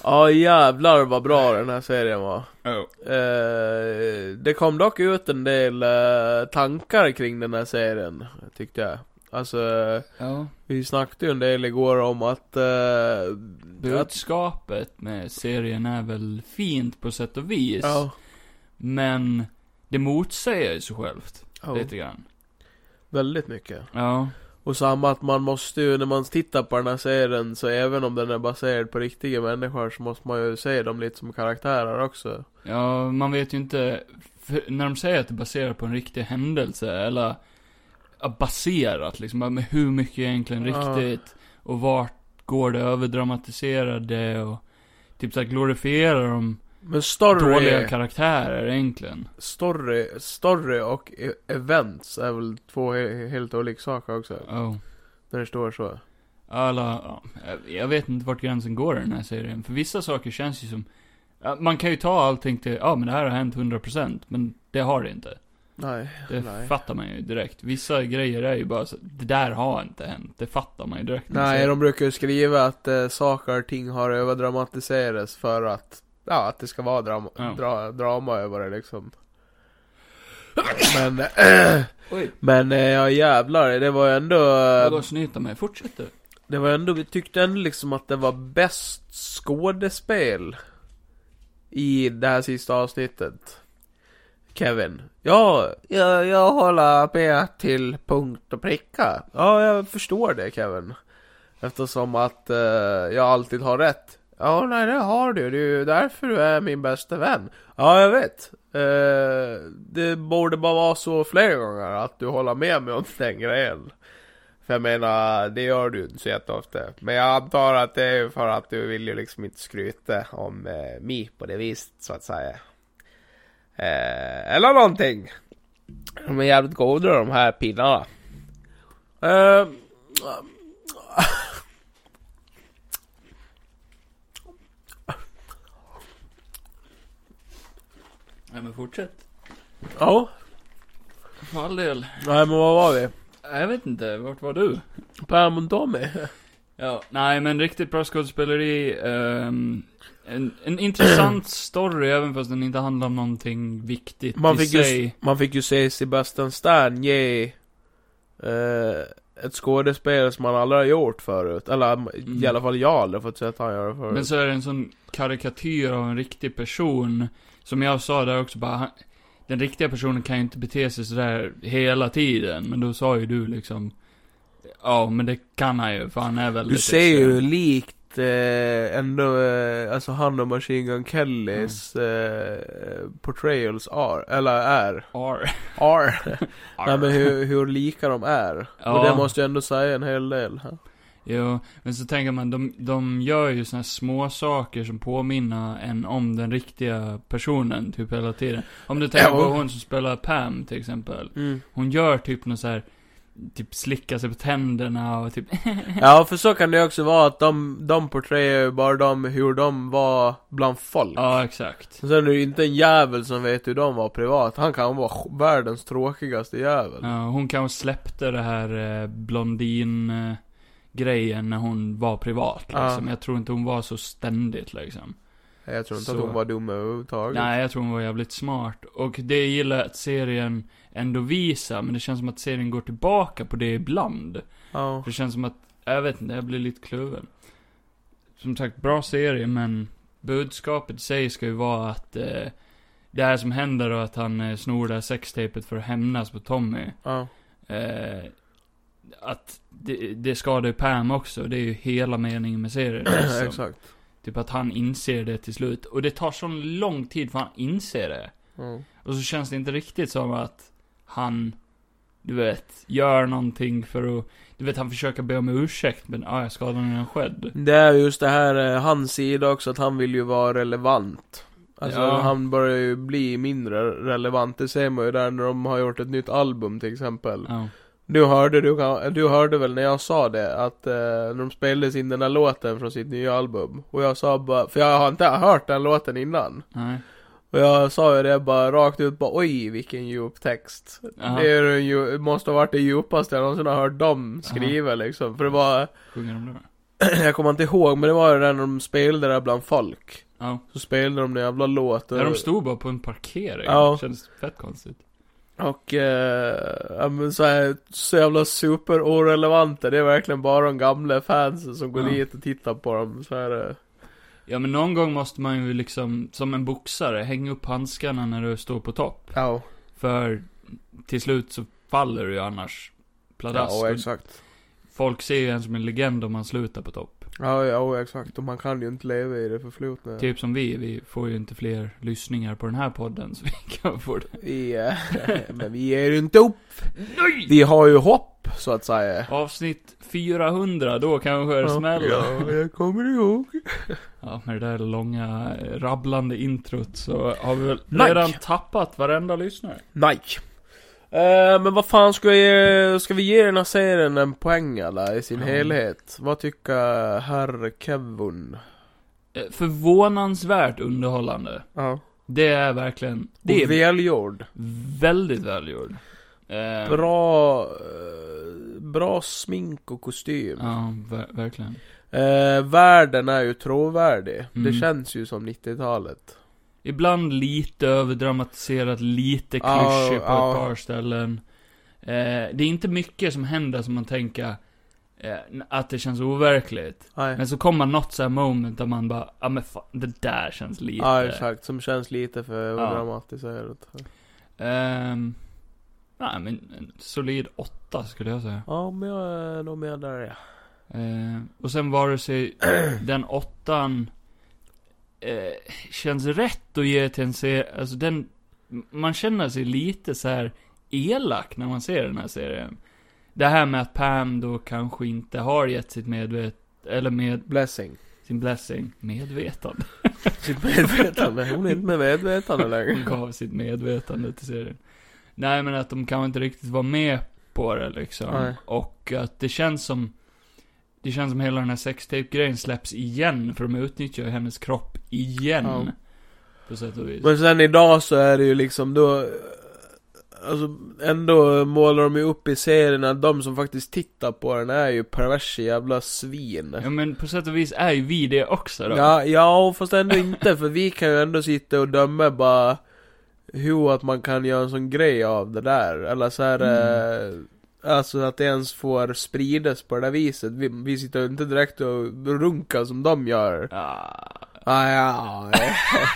Speaker 3: Ja jävlar vad bra den här serien var.
Speaker 4: Oh.
Speaker 3: Eh, det kom dock ut en del eh, tankar kring den här serien, tyckte jag. Alltså, eh,
Speaker 4: Ja.
Speaker 3: vi snackade ju en del igår om att... eh, att
Speaker 4: Budskapet med serien är väl fint på sätt och vis.
Speaker 3: ja,
Speaker 4: Men det motsäger sig självt.
Speaker 3: ja,
Speaker 4: Lite grann.
Speaker 3: väldigt mycket.
Speaker 4: Ja.
Speaker 3: Och samma att man måste ju, när man tittar på den här serien, så även om den är baserad på riktiga människor så måste man ju se dem lite som karaktärer också.
Speaker 4: Ja, man vet ju inte. För när de säger att det baserar på en riktig händelse, eller ja, baserat liksom, ja, men hur mycket är egentligen
Speaker 3: Ja.
Speaker 4: riktigt? Och vart går det överdramatiserade och typ såhär glorifierar de
Speaker 3: Men story,
Speaker 4: dåliga karaktärer egentligen?
Speaker 3: story, story och e- events är väl två he- helt olika saker också.
Speaker 4: Oh.
Speaker 3: När det står så.
Speaker 4: Alla, ja, jag vet inte vart gränsen går i den här serien, för vissa saker känns ju som ja, man kan ju ta allting till, ja men det här har hänt 100%, men det har det inte.
Speaker 3: Nej,
Speaker 4: Det
Speaker 3: nej.
Speaker 4: fattar man ju direkt. Vissa grejer är ju bara så, det där har inte hänt. Det fattar man ju direkt. när man
Speaker 3: Nej,
Speaker 4: ser
Speaker 3: de brukar ju skriva att eh, saker och ting har överdramatiserats för att, ja, att det ska vara dram-
Speaker 4: Ja.
Speaker 3: dra- drama över det liksom. Men,
Speaker 4: det. Oj,
Speaker 3: men eh, ja jävlar, det var ju ändå,
Speaker 4: jag
Speaker 3: eh,
Speaker 4: går och snyter mig. Fortsätt du.
Speaker 3: det var ändå, vi tyckte ändå liksom att det var bäst skådespel i det här sista avsnittet. Kevin. Ja, jag, jag håller med till punkt och pricka. Ja, jag förstår det Kevin. Eftersom att eh, jag alltid har rätt. Ja, nej det har du. Det är ju därför du är min bästa vän. Ja, jag vet. Eh, det borde bara vara så fler gånger att du håller med mig om den grejen. För jag menar, det gör du ju inte så jätteofta. Men jag antar att det är för att du vill ju liksom inte skryta om eh, mig på det viset, så att säga. Eh, eller någonting. De är jävligt goda de här pinnarna. Eh,
Speaker 4: Nej men fortsätt.
Speaker 3: ja,
Speaker 4: För all del.
Speaker 3: nej men vad var vi?
Speaker 4: Jag vet inte, vart var du?
Speaker 3: Pam och Tommy?
Speaker 4: Ja, nej men riktigt bra skådespeleri. ehm, en, en intressant story, även fast den inte handlar om någonting viktigt
Speaker 3: Man
Speaker 4: i
Speaker 3: fick,
Speaker 4: sig.
Speaker 3: ju, man fick ju se Sebastian Stan ge eh, ett skådespel som han aldrig har gjort förut. Eller i alla fall jag har aldrig fått se att han gör det förut.
Speaker 4: Mm. Men så är det en sån karikatyr av en riktig person. Som jag sa där också bara, han, den riktiga personen kan ju inte bete sig sådär hela tiden. Men då sa ju du liksom, ja men det kan han ju för han är väldigt
Speaker 3: Du ser ju
Speaker 4: extrem."
Speaker 3: likt eh, ändå, eh, alltså han och Machine Gun Kellys eh, portrayals are, eller är.
Speaker 4: Arr.
Speaker 3: Are.
Speaker 4: Arr.
Speaker 3: Nej men hur, hur lika de är. Och
Speaker 4: Ja.
Speaker 3: det måste jag ändå säga en hel del.
Speaker 4: Jo, men så tänker man, de, de gör ju såna här små saker som påminner en om den riktiga personen typ hela tiden. Om du tänker
Speaker 3: Ja.
Speaker 4: på hon som spelar Pam till exempel.
Speaker 3: Mm.
Speaker 4: Hon gör typ något så här typ slickar sig på tänderna och typ
Speaker 3: Ja, för så kan det ju också vara att de, de porträtterar ju bara de, hur de var bland folk.
Speaker 4: Ja, exakt.
Speaker 3: Och sen är det ju inte en jävel som vet hur de var privat. Han kan vara sj- världens tråkigaste jävel.
Speaker 4: Ja, hon kanske släppte det här eh, blondin eh, grejen när hon var privat
Speaker 3: Ja.
Speaker 4: liksom. Jag tror inte hon var så ständigt liksom.
Speaker 3: Jag tror inte
Speaker 4: Så.
Speaker 3: att hon var dum överhuvudtaget.
Speaker 4: Nej, jag tror hon var jävligt smart. Och det gillar jag att serien ändå visar, men det känns som att serien går tillbaka på det ibland.
Speaker 3: Ja.
Speaker 4: För det känns som att, jag vet inte, jag blir lite kluven. Som sagt, bra serie, men budskapet i sig ska ju vara att eh, det här som händer och att han eh, snor det här sextapet för att hämnas på Tommy.
Speaker 3: Ja.
Speaker 4: Eh, att det, det skadar ju Pam också, det är ju hela meningen med serien. liksom.
Speaker 3: Exakt.
Speaker 4: Typ att han inser det till slut. Och det tar sån lång tid för han inser det.
Speaker 3: Ja.
Speaker 4: Och så känns det inte riktigt som att han, du vet, gör någonting för att... Du vet, han försöker be om ursäkt, men ah, jag skadade när han skedd.
Speaker 3: Det är just det här, eh, hans sida också, att han vill ju vara relevant. Alltså
Speaker 4: Ja.
Speaker 3: han börjar ju bli mindre relevant, det ser man ju där när de har gjort ett nytt album till exempel.
Speaker 4: Ja.
Speaker 3: Du hörde, du, kan- du hörde väl när jag sa det, att eh, när de spelade in den här låten från sitt nya album. Och jag sa bara, för jag har inte hört den låten innan.
Speaker 4: Nej.
Speaker 3: Och jag sa ju det bara rakt ut bara oj vilken djup text.
Speaker 4: Ja.
Speaker 3: Det är den ju, måste ha varit det djupaste jag någonsin har hört dem skriva liksom. För det var,
Speaker 4: Sjunger de det?
Speaker 3: jag kommer inte ihåg men det var ju när de spelade där bland folk.
Speaker 4: Ja.
Speaker 3: Så spelade de den jävla låten.
Speaker 4: Ja, de stod bara på en parkering.
Speaker 3: Ja.
Speaker 4: Kändes fett konstigt.
Speaker 3: Och eh, ja, men så, här, så jävla super orelevanta. Det är verkligen bara de gamla fansen som går
Speaker 4: Ja.
Speaker 3: dit och tittar på dem. Så eh, är det.
Speaker 4: Ja, men någon gång måste man ju liksom, som en boxare, hänga upp handskarna när du står på topp.
Speaker 3: Ja,
Speaker 4: För till slut så faller du ju annars pladask.
Speaker 3: ja
Speaker 4: Och
Speaker 3: exakt.
Speaker 4: Folk ser ju en som en legend om man slutar på topp.
Speaker 3: Ja, ja, exakt. Och man kan ju inte leva i det förflutna.
Speaker 4: Typ som vi, vi får ju inte fler lyssningar på den här podden så vi kan få det.
Speaker 3: Vi, eh, men vi ger ju inte upp.
Speaker 4: Nej!
Speaker 3: Vi har ju hopp, så att säga.
Speaker 4: Avsnitt 400, då kanske det smäller. Ja.
Speaker 3: Ja, jag kommer ihåg.
Speaker 4: med det där långa eh, rabblande introt så har vi väl
Speaker 3: Like.
Speaker 4: redan tappat varenda lyssnare.
Speaker 3: Nej. Eh, men vad fan ska, jag, ge- ska vi ge den här serien en poäng eller i sin
Speaker 4: Ja.
Speaker 3: helhet? Vad tycker herr Kevin?
Speaker 4: Eh, Förvånansvärt underhållande.
Speaker 3: Ja.
Speaker 4: Det är verkligen, det
Speaker 3: Det
Speaker 4: är
Speaker 3: välgjord.
Speaker 4: väldigt välgjord. Eh,
Speaker 3: Bra, eh, bra smink och kostym.
Speaker 4: Ja, ver- verkligen.
Speaker 3: Eh, världen är ju trovärdig.
Speaker 4: Mm.
Speaker 3: Det känns ju som 90-talet.
Speaker 4: Ibland lite överdramatiserat, lite
Speaker 3: Ja,
Speaker 4: klyschig på
Speaker 3: ja.
Speaker 4: ett par ställen. Eh, det är inte mycket som händer som man tänker eh, att det känns overkligt.
Speaker 3: Nej.
Speaker 4: Men så kommer något så här moment där man bara, ja men fan, det där känns lite.
Speaker 3: Ja, exakt. Som känns lite för
Speaker 4: Ja.
Speaker 3: dramatiserat.
Speaker 4: Ehm, nej men en solid åtta skulle jag säga.
Speaker 3: Ja, men jag är nog med där ja.
Speaker 4: Eh, och sen vare sig den åttan eh, känns rätt att ge till en serie, alltså den, man känner sig lite så här elak när man ser den här serien. Det här med att Pam då kanske inte har gett sitt medvet, eller med
Speaker 3: Blessing.
Speaker 4: sin blessing, medvetande.
Speaker 3: Sitt Typ medvetande. Hon är inte med medvetande
Speaker 4: Hon
Speaker 3: längre.
Speaker 4: gav sitt medvetande till serien. Nej men att de kanske inte riktigt var med på det liksom.
Speaker 3: Nej.
Speaker 4: Och att det känns som, det känns som hela den här sextape-grejen släpps igen, för de utnyttjar ju hennes kropp igen.
Speaker 3: Ja.
Speaker 4: På sätt och vis.
Speaker 3: Men sen idag så är det ju liksom då Alltså ändå målar de ju upp i serien att de som faktiskt tittar på den är ju perversa jävla svin.
Speaker 4: Ja men på sätt och vis är ju vi det också då.
Speaker 3: Ja, ja, fast ändå inte för vi kan ju ändå sitta och döma bara hur att man kan göra en sån grej av det där. Eller så här, eh,
Speaker 4: Mm.
Speaker 3: alltså att det ens får spridas på det där viset. Vi, vi sitter ju inte direkt och runkar som de gör.
Speaker 4: Ah,
Speaker 3: Ah, ja,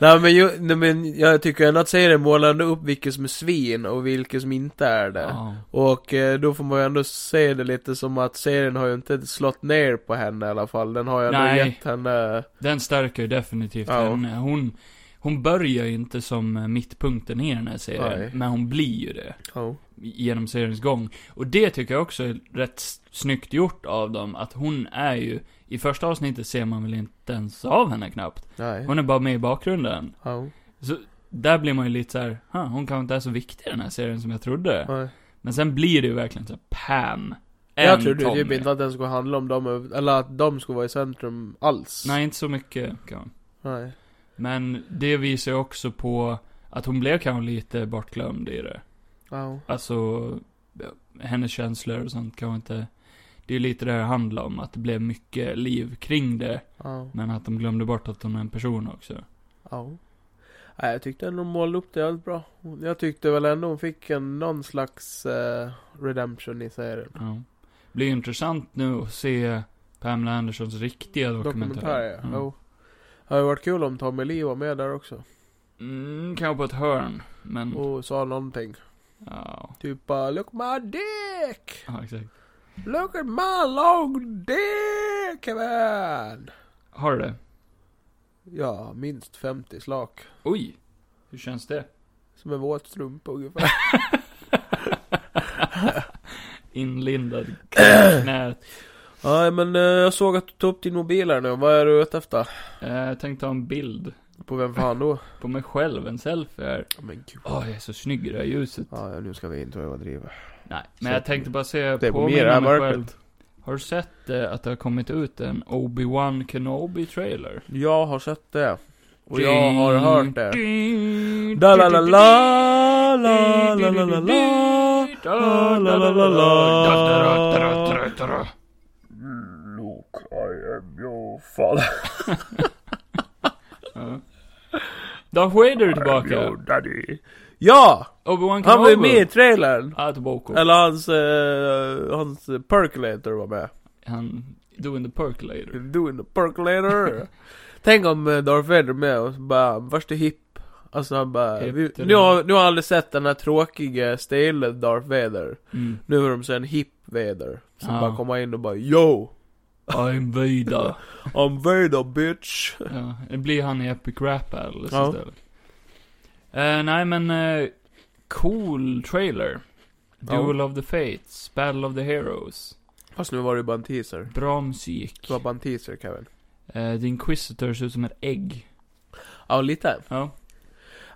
Speaker 3: nej, men ju, nej men jag tycker ändå att serien målar ändå upp vilka som är svin och vilka som inte är det.
Speaker 4: ja.
Speaker 3: Och eh, då får man ju ändå se det lite som att serien har ju inte slått ner på henne i alla fall. Den har ju ändå
Speaker 4: Nej.
Speaker 3: gett henne...
Speaker 4: Den stärker ju definitivt
Speaker 3: Ja.
Speaker 4: henne. Hon, hon börjar ju inte som eh, mittpunkten i den här serien,
Speaker 3: Nej.
Speaker 4: men hon blir ju det.
Speaker 3: Ja.
Speaker 4: genom seriens gång. Och det tycker jag också är rätt s- snyggt gjort av dem, att hon är ju, i första avsnittet ser man väl inte ens av henne knappt.
Speaker 3: Nej. oh.
Speaker 4: Hon är bara med i bakgrunden.
Speaker 3: Ja.
Speaker 4: Så där blir man ju lite så här, "Ha, hon kanske inte är så viktig i den här serien som jag trodde.
Speaker 3: Nej.
Speaker 4: Men sen blir det ju verkligen så här, Pam.
Speaker 3: jag
Speaker 4: en
Speaker 3: trodde ju typ
Speaker 4: Tommy.
Speaker 3: inte att den skulle handla om dem, eller att de skulle vara i centrum alls.
Speaker 4: Nej, inte så mycket kan man.
Speaker 3: Nej.
Speaker 4: Men det visar ju också på att hon blev kanske lite bortglömd i det.
Speaker 3: Ja.
Speaker 4: Alltså, ja, hennes känslor och sånt kanske inte... Det är ju lite det det handlar om, att det blev mycket liv kring det.
Speaker 3: Ja.
Speaker 4: Men att de glömde bort att hon är en person också.
Speaker 3: Ja. Nej, jag tyckte ändå hon målade upp det jävligt bra. Jag tyckte väl ändå hon fick en, någon slags eh, redemption i serien.
Speaker 4: Ja. Det blir ju intressant nu att se Pamela Andersons riktiga dokumentär.
Speaker 3: Dokumentär, ja.
Speaker 4: Mm.
Speaker 3: Jo. Det hade varit kul om Tommy Lee var med där också.
Speaker 4: Mm, kanske på ett hörn, men...
Speaker 3: Och sa någonting.
Speaker 4: Ja,
Speaker 3: Typ bara, look my dick!
Speaker 4: ja, exakt.
Speaker 3: Look at my long dick man!
Speaker 4: Har du det?
Speaker 3: Ja, minst 50 slak.
Speaker 4: Oj! Hur känns det?
Speaker 3: Som en våt strumpa ungefär.
Speaker 4: Inlindad knät.
Speaker 3: Nej men eh, jag såg att du tog upp din mobil här nu. Vad är du ute efter?
Speaker 4: Eh, Jag tänkte ha en bild
Speaker 3: På vem fan då?
Speaker 4: på mig själv, en selfie här.
Speaker 3: Ja, men gud.
Speaker 4: Åh, jag är så snygg i det här ljuset.
Speaker 3: Ja, ja, nu ska vi inte överdriva.
Speaker 4: Nej, men jag tänkte bara se,
Speaker 3: Det är på mig i det
Speaker 4: påminna
Speaker 3: här
Speaker 4: mig
Speaker 3: mörkret.
Speaker 4: själv. Har du sett eh, att det har kommit ut en Obi-Wan Kenobi-trailer?
Speaker 3: Jag har sett det. Och jag har hört det.
Speaker 4: Ding,
Speaker 3: Da la la
Speaker 4: ding,
Speaker 3: la la la la la la la la la la la Look, I am your father.
Speaker 4: Ja. Darth Vader är tillbaka.
Speaker 3: daddy. Ja!
Speaker 4: Obi-Wan Kenobi.
Speaker 3: Han var ju med i trailern.
Speaker 4: Ja, tillbaka.
Speaker 3: Eller hans, eh, hans percolator var med.
Speaker 4: Han, doing the percolator.
Speaker 3: Doing the percolator. Tänk om eh, Darth Vader med och så bara, värsta hipp. Alltså han bara,
Speaker 4: Hipp
Speaker 3: vi,
Speaker 4: till
Speaker 3: nu,
Speaker 4: och med.
Speaker 3: har, nu har jag aldrig sett den här tråkiga, stela Darth Vader.
Speaker 4: Mm.
Speaker 3: Nu är de så en hipp Vader. Som
Speaker 4: Ja.
Speaker 3: bara kommer in och bara, yo!
Speaker 4: I'm Vader.
Speaker 3: I'm Vader bitch!
Speaker 4: Ja, det blir han i Epic Rap Battles
Speaker 3: Ja.
Speaker 4: istället. Eh, nej men, eh, cool trailer.
Speaker 3: Ja.
Speaker 4: Duel of the Fates, Battle of the Heroes.
Speaker 3: Fast nu var det ju bara en teaser.
Speaker 4: Bra musik.
Speaker 3: Det var bara en teaser Kevin.
Speaker 4: Eh, The Inquisitor ser ut som ett ägg.
Speaker 3: Ja, lite.
Speaker 4: Ja.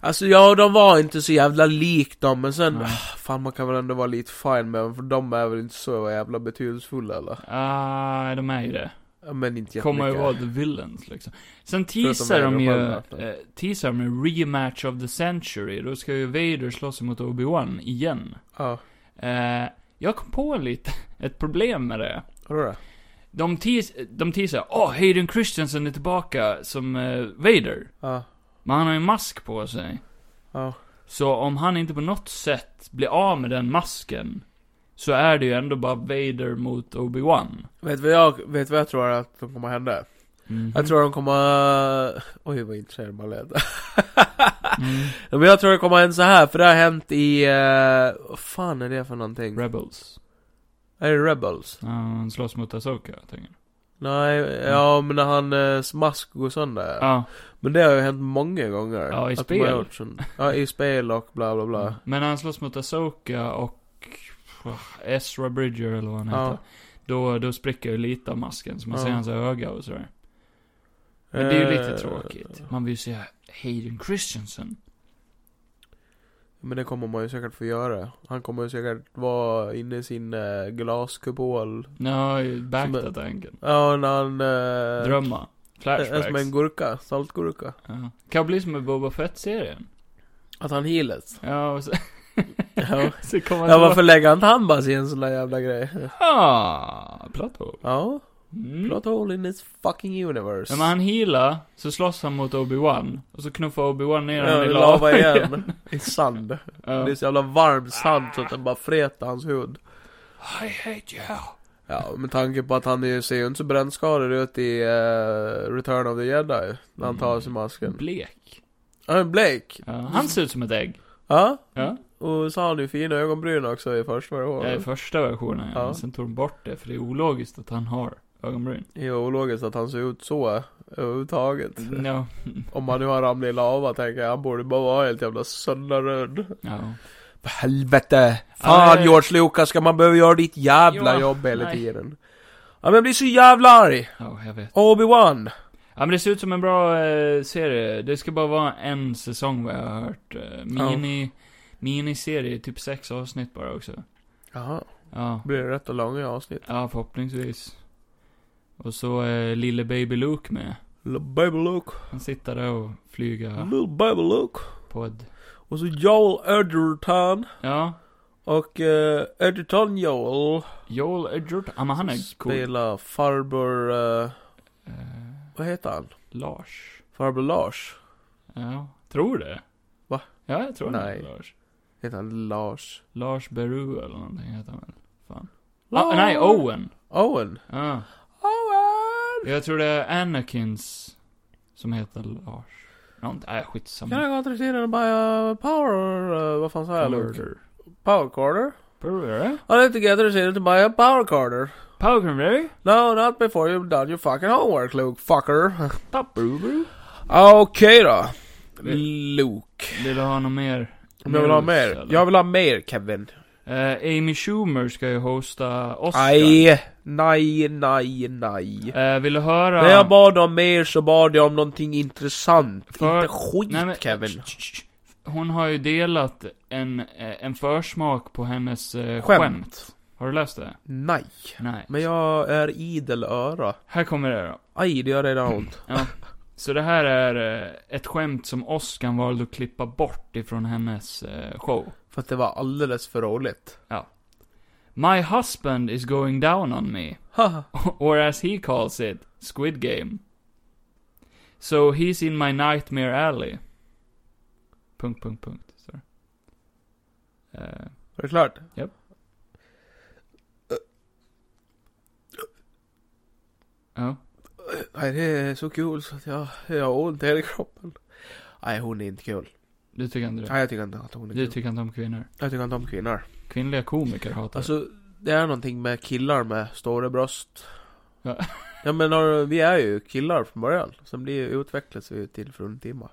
Speaker 3: Alltså ja, de var inte så jävla lik dem, men sen,
Speaker 4: Nej.
Speaker 3: ah, fan man kan väl ändå vara lite fine med dem, för de är väl inte så jävla betydelsefulla eller?
Speaker 4: Ah, de är ju det.
Speaker 3: Ja, Men inte jättemycket.
Speaker 4: Kommer ju vara the villains liksom. Sen teasar
Speaker 3: Vader
Speaker 4: de
Speaker 3: och alltså.
Speaker 4: ju,
Speaker 3: Bumblebee.
Speaker 4: eh, teasar de ju rematch of the century. Då ska ju Vader slåss mot Obi-Wan igen.
Speaker 3: Ja,
Speaker 4: Eh, jag kom på lite, ett problem med det.
Speaker 3: har du det?
Speaker 4: De, teas, de teasar, åh, oh, Hayden Christensen är tillbaka som eh, Vader.
Speaker 3: Ja,
Speaker 4: Men han har ju en mask på sig.
Speaker 3: ja.
Speaker 4: Så om han inte på något sätt blir av med den masken, så är det ju ändå bara Vader mot Obi-Wan.
Speaker 3: Vet du vad jag, vet du vad jag tror att de kommer hända?
Speaker 4: Mhm.
Speaker 3: Jag tror de kommer... Oj vad intresserad man lät.
Speaker 4: Mm.
Speaker 3: Ja, Men jag tror det kommer hända så här för det har hänt i... eh, Vad fan är det för någonting?
Speaker 4: Rebels.
Speaker 3: är det Rebels?
Speaker 4: Ja, Han slåss mot Asoka, jag tänker.
Speaker 3: Nej, ja men när han eh, smask går sönder.
Speaker 4: Mm. Ja.
Speaker 3: Men det har ju hänt många gånger.
Speaker 4: Ja, i
Speaker 3: att de
Speaker 4: spel. Mm.
Speaker 3: har gjort sån- ja, i spel och bla bla bla.
Speaker 4: Men när han slåss mot Asoka och oh, Ezra Bridger eller vad han
Speaker 3: Ja.
Speaker 4: heter. Då, då spricker ju lite av masken, så man
Speaker 3: Ja.
Speaker 4: ser hans öga och sådär. Men det är ju lite
Speaker 3: Eh,
Speaker 4: tråkigt. Man vill ju se Hayden Christensen.
Speaker 3: Men det kommer man ju säkert få göra. Han kommer ju säkert vara inne i sin eh, glaskupol.
Speaker 4: Ja, back
Speaker 3: Som-
Speaker 4: that angle.
Speaker 3: Ja, när han... eh,
Speaker 4: Drömma.
Speaker 3: är som
Speaker 4: Flashbacks.
Speaker 3: en gurka, saltgurka.
Speaker 4: Ja. Kan bli som med Boba Fett-serien.
Speaker 3: Att han healades.
Speaker 4: Ja, och så...
Speaker 3: Ja.
Speaker 4: så kommer
Speaker 3: Ja varför lägger inte han bara sig i en sån där jävla grej?
Speaker 4: Ah, Plato.
Speaker 3: Ja,
Speaker 4: Mm.
Speaker 3: plot hole in this fucking universe.
Speaker 4: När man healar, så slåss han mot Obi-Wan. Och så knuffar Obi-Wan ner
Speaker 3: ja,
Speaker 4: honom
Speaker 3: i
Speaker 4: i
Speaker 3: lava igen. I sand.
Speaker 4: Ja.
Speaker 3: Det är så jävla varm sand så att den bara fretar hans hud.
Speaker 4: I hate you.
Speaker 3: Ja, med tanke på att han ju ser ju inte så brännskadad ut i eh, Return of the Jedi. När han tar av sig masken.
Speaker 4: Blek.
Speaker 3: Ja, men Blake.
Speaker 4: Ja, han ser ut som ett ägg.
Speaker 3: Ja.
Speaker 4: Ja,
Speaker 3: Och så har han ju fina ögonbryn också i första
Speaker 4: det är
Speaker 3: versionen.
Speaker 4: första versionen. Ja.
Speaker 3: Ja.
Speaker 4: Men Sen tog de bort det, för det är ologiskt att han har ögonbryn.
Speaker 3: Det är ju ologiskt att han ser ut så. Överhuvudtaget.
Speaker 4: Ja.
Speaker 3: Om han nu har ramlat i lava tänker jag, han borde bara vara helt jävla sönderröd.
Speaker 4: ja.
Speaker 3: För Helvete!
Speaker 4: Ja,
Speaker 3: Fan
Speaker 4: det-
Speaker 3: George Lucas, ska man behöva göra ditt jävla
Speaker 4: Ja,
Speaker 3: jobb hela
Speaker 4: nej.
Speaker 3: tiden? Ja men jag blir så jävla arg!
Speaker 4: Ja, jag vet.
Speaker 3: Obi-Wan!
Speaker 4: Ja men det ser ut som en bra eh, serie. Det ska bara vara en säsong vad jag har hört. Eh, mini, miniserie, typ sex avsnitt bara också.
Speaker 3: Jaha.
Speaker 4: Ja.
Speaker 3: Blir det rätt och långa avsnitt.
Speaker 4: Ja, förhoppningsvis. Och så är lille baby Luke med.
Speaker 3: Little baby Luke.
Speaker 4: Han sitter där och flyger
Speaker 3: Little baby Luke.
Speaker 4: podd.
Speaker 3: Och så Joel Edgerton.
Speaker 4: Ja.
Speaker 3: Och uh, Edgerton Joel
Speaker 4: Joel Edgerton. Ja, men han är cool.
Speaker 3: spelar farbror, eh,
Speaker 4: Eh,
Speaker 3: vad heter han?
Speaker 4: Lars.
Speaker 3: Farbror Lars.
Speaker 4: Ja, tror det.
Speaker 3: Va?
Speaker 4: Ja, jag tror
Speaker 3: Nej.
Speaker 4: det. Lars.
Speaker 3: Heter han Lars?
Speaker 4: Lars Beru eller någonting heter han väl. Fan.
Speaker 3: Lars!
Speaker 4: Ah, nej, Owen.
Speaker 3: Owen.
Speaker 4: Ja.
Speaker 3: Owen!
Speaker 4: Jag tror det är Anakins som heter Lars. Nånt, nej, skitsamma.
Speaker 3: Can I go to the scene and buy a eh, power, uh, vad fan sa jag Luke?
Speaker 4: Powder.
Speaker 3: Power quarter?
Speaker 4: Powder.
Speaker 3: I like to get to the scene to buy a eh, power quarter.
Speaker 4: Powder.
Speaker 3: No, not before you've done your fucking homework Luke, fucker.
Speaker 4: Powder.
Speaker 3: Okej då.
Speaker 4: Vi-
Speaker 3: Luke.
Speaker 4: Vill du ha något mer?
Speaker 3: Om jag vill ha
Speaker 4: news,
Speaker 3: mer?
Speaker 4: eller?
Speaker 3: Jag vill ha mer Kevin.
Speaker 4: Eh, Amy Schumer ska ju hosta Oscar.
Speaker 3: Nej, nej, nej, nej.
Speaker 4: Eh, vill du höra?
Speaker 3: När jag bad om mer så bad jag om någonting intressant.
Speaker 4: För-
Speaker 3: Inte skit
Speaker 4: Nej, men-
Speaker 3: Kevin.
Speaker 4: Hon har ju delat en, eh, en försmak på hennes eh, skämt.
Speaker 3: Skämt.
Speaker 4: Har du läst det?
Speaker 3: Nej.
Speaker 4: Nej.
Speaker 3: Men jag är idel öra.
Speaker 4: Här kommer det då.
Speaker 3: Aj, det gör redan ont.
Speaker 4: Så det här är eh, ett skämt som Oscar valde att klippa bort ifrån hennes eh, show.
Speaker 3: För att det var alldeles för roligt.
Speaker 4: My husband is going down on me.
Speaker 3: Haha.
Speaker 4: or as he calls it, Squid Game. So he's in my nightmare alley. Punkt, punkt, punkt. Så. Eh,
Speaker 3: Var det klart?
Speaker 4: Japp. ja.
Speaker 3: Nej, det är så kul så att jag, jag har ont i hela kroppen. Nej, hon är inte kul.
Speaker 4: Du tycker inte det?
Speaker 3: Nej, jag tycker inte att hon är
Speaker 4: Du
Speaker 3: kul.
Speaker 4: tycker inte om kvinnor?
Speaker 3: Jag tycker inte om kvinnor.
Speaker 4: Kvinnliga komiker hatar alltså,
Speaker 3: Alltså, det är någonting med killar med stora bröst.
Speaker 4: Ja.
Speaker 3: ja men har- vi är ju killar från början. Sen blir utvecklas vi till fruntimma.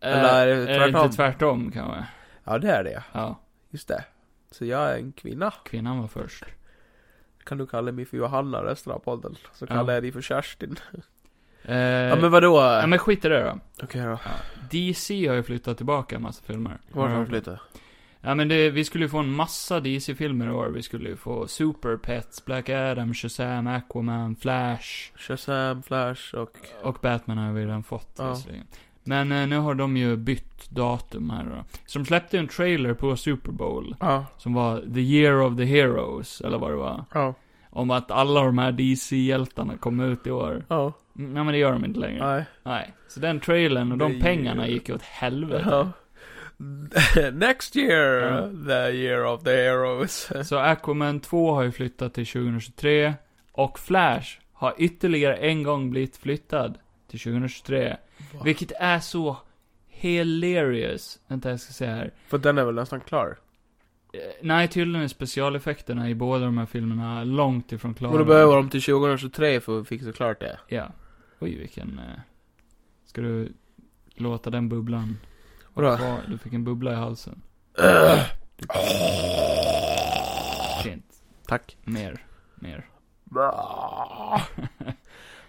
Speaker 3: eller är det
Speaker 4: Är det
Speaker 3: tvärtom?
Speaker 4: Eh, inte tvärtom kanske?
Speaker 3: Ja det är det
Speaker 4: Ja,
Speaker 3: just det. Så jag är en kvinna.
Speaker 4: kvinnan var först.
Speaker 3: Kan du kalla mig för Johanna resten av podden? Så
Speaker 4: Ja.
Speaker 3: kallar jag dig för Kerstin.
Speaker 4: Eh,
Speaker 3: ja men vadå?
Speaker 4: ja, men skit i det då.
Speaker 3: Okej då.
Speaker 4: DC har ju flyttat tillbaka en massa filmer.
Speaker 3: Varför har du flyttat?
Speaker 4: Ja men det, vi skulle ju få en massa DC-filmer i år. Vi skulle ju få Super Pets, Black Adam, Shazam, Aquaman, Flash
Speaker 3: Shazam, Flash och...
Speaker 4: och Batman har vi redan fått
Speaker 3: Ja.
Speaker 4: visserligen. Men eh, nu har de ju bytt datum här då. Så de släppte ju en trailer på Super Bowl.
Speaker 3: Ja.
Speaker 4: Som var The Year of the Heroes, eller vad det var.
Speaker 3: Ja.
Speaker 4: Om att alla de här DC-hjältarna kom ut i år.
Speaker 3: Ja.
Speaker 4: Mm, Nej men det gör de inte längre.
Speaker 3: Nej.
Speaker 4: Nej. Så den trailern och de
Speaker 3: The
Speaker 4: pengarna
Speaker 3: Year.
Speaker 4: gick ju åt helvete.
Speaker 3: Ja. Next year,
Speaker 4: Ja.
Speaker 3: the year of the heroes.
Speaker 4: Så Aquaman 2 har ju flyttat till 2023. Och Flash har ytterligare en gång blivit flyttad till 2023.
Speaker 3: Va?
Speaker 4: Vilket är så hilarious. Vänta, jag ska se här.
Speaker 3: För den är väl nästan klar?
Speaker 4: Eh, Nej, tydligen är specialeffekterna i båda de här filmerna långt ifrån klara.
Speaker 3: Och då behöver de till 2023 för att fixa klart det.
Speaker 4: Ja. Oj, vilken... eh, Ska du låta den bubblan
Speaker 3: Vadå?
Speaker 4: vara? Du fick en bubbla i halsen. Fint.
Speaker 3: Tack.
Speaker 4: Mer. Mer.
Speaker 3: Ah!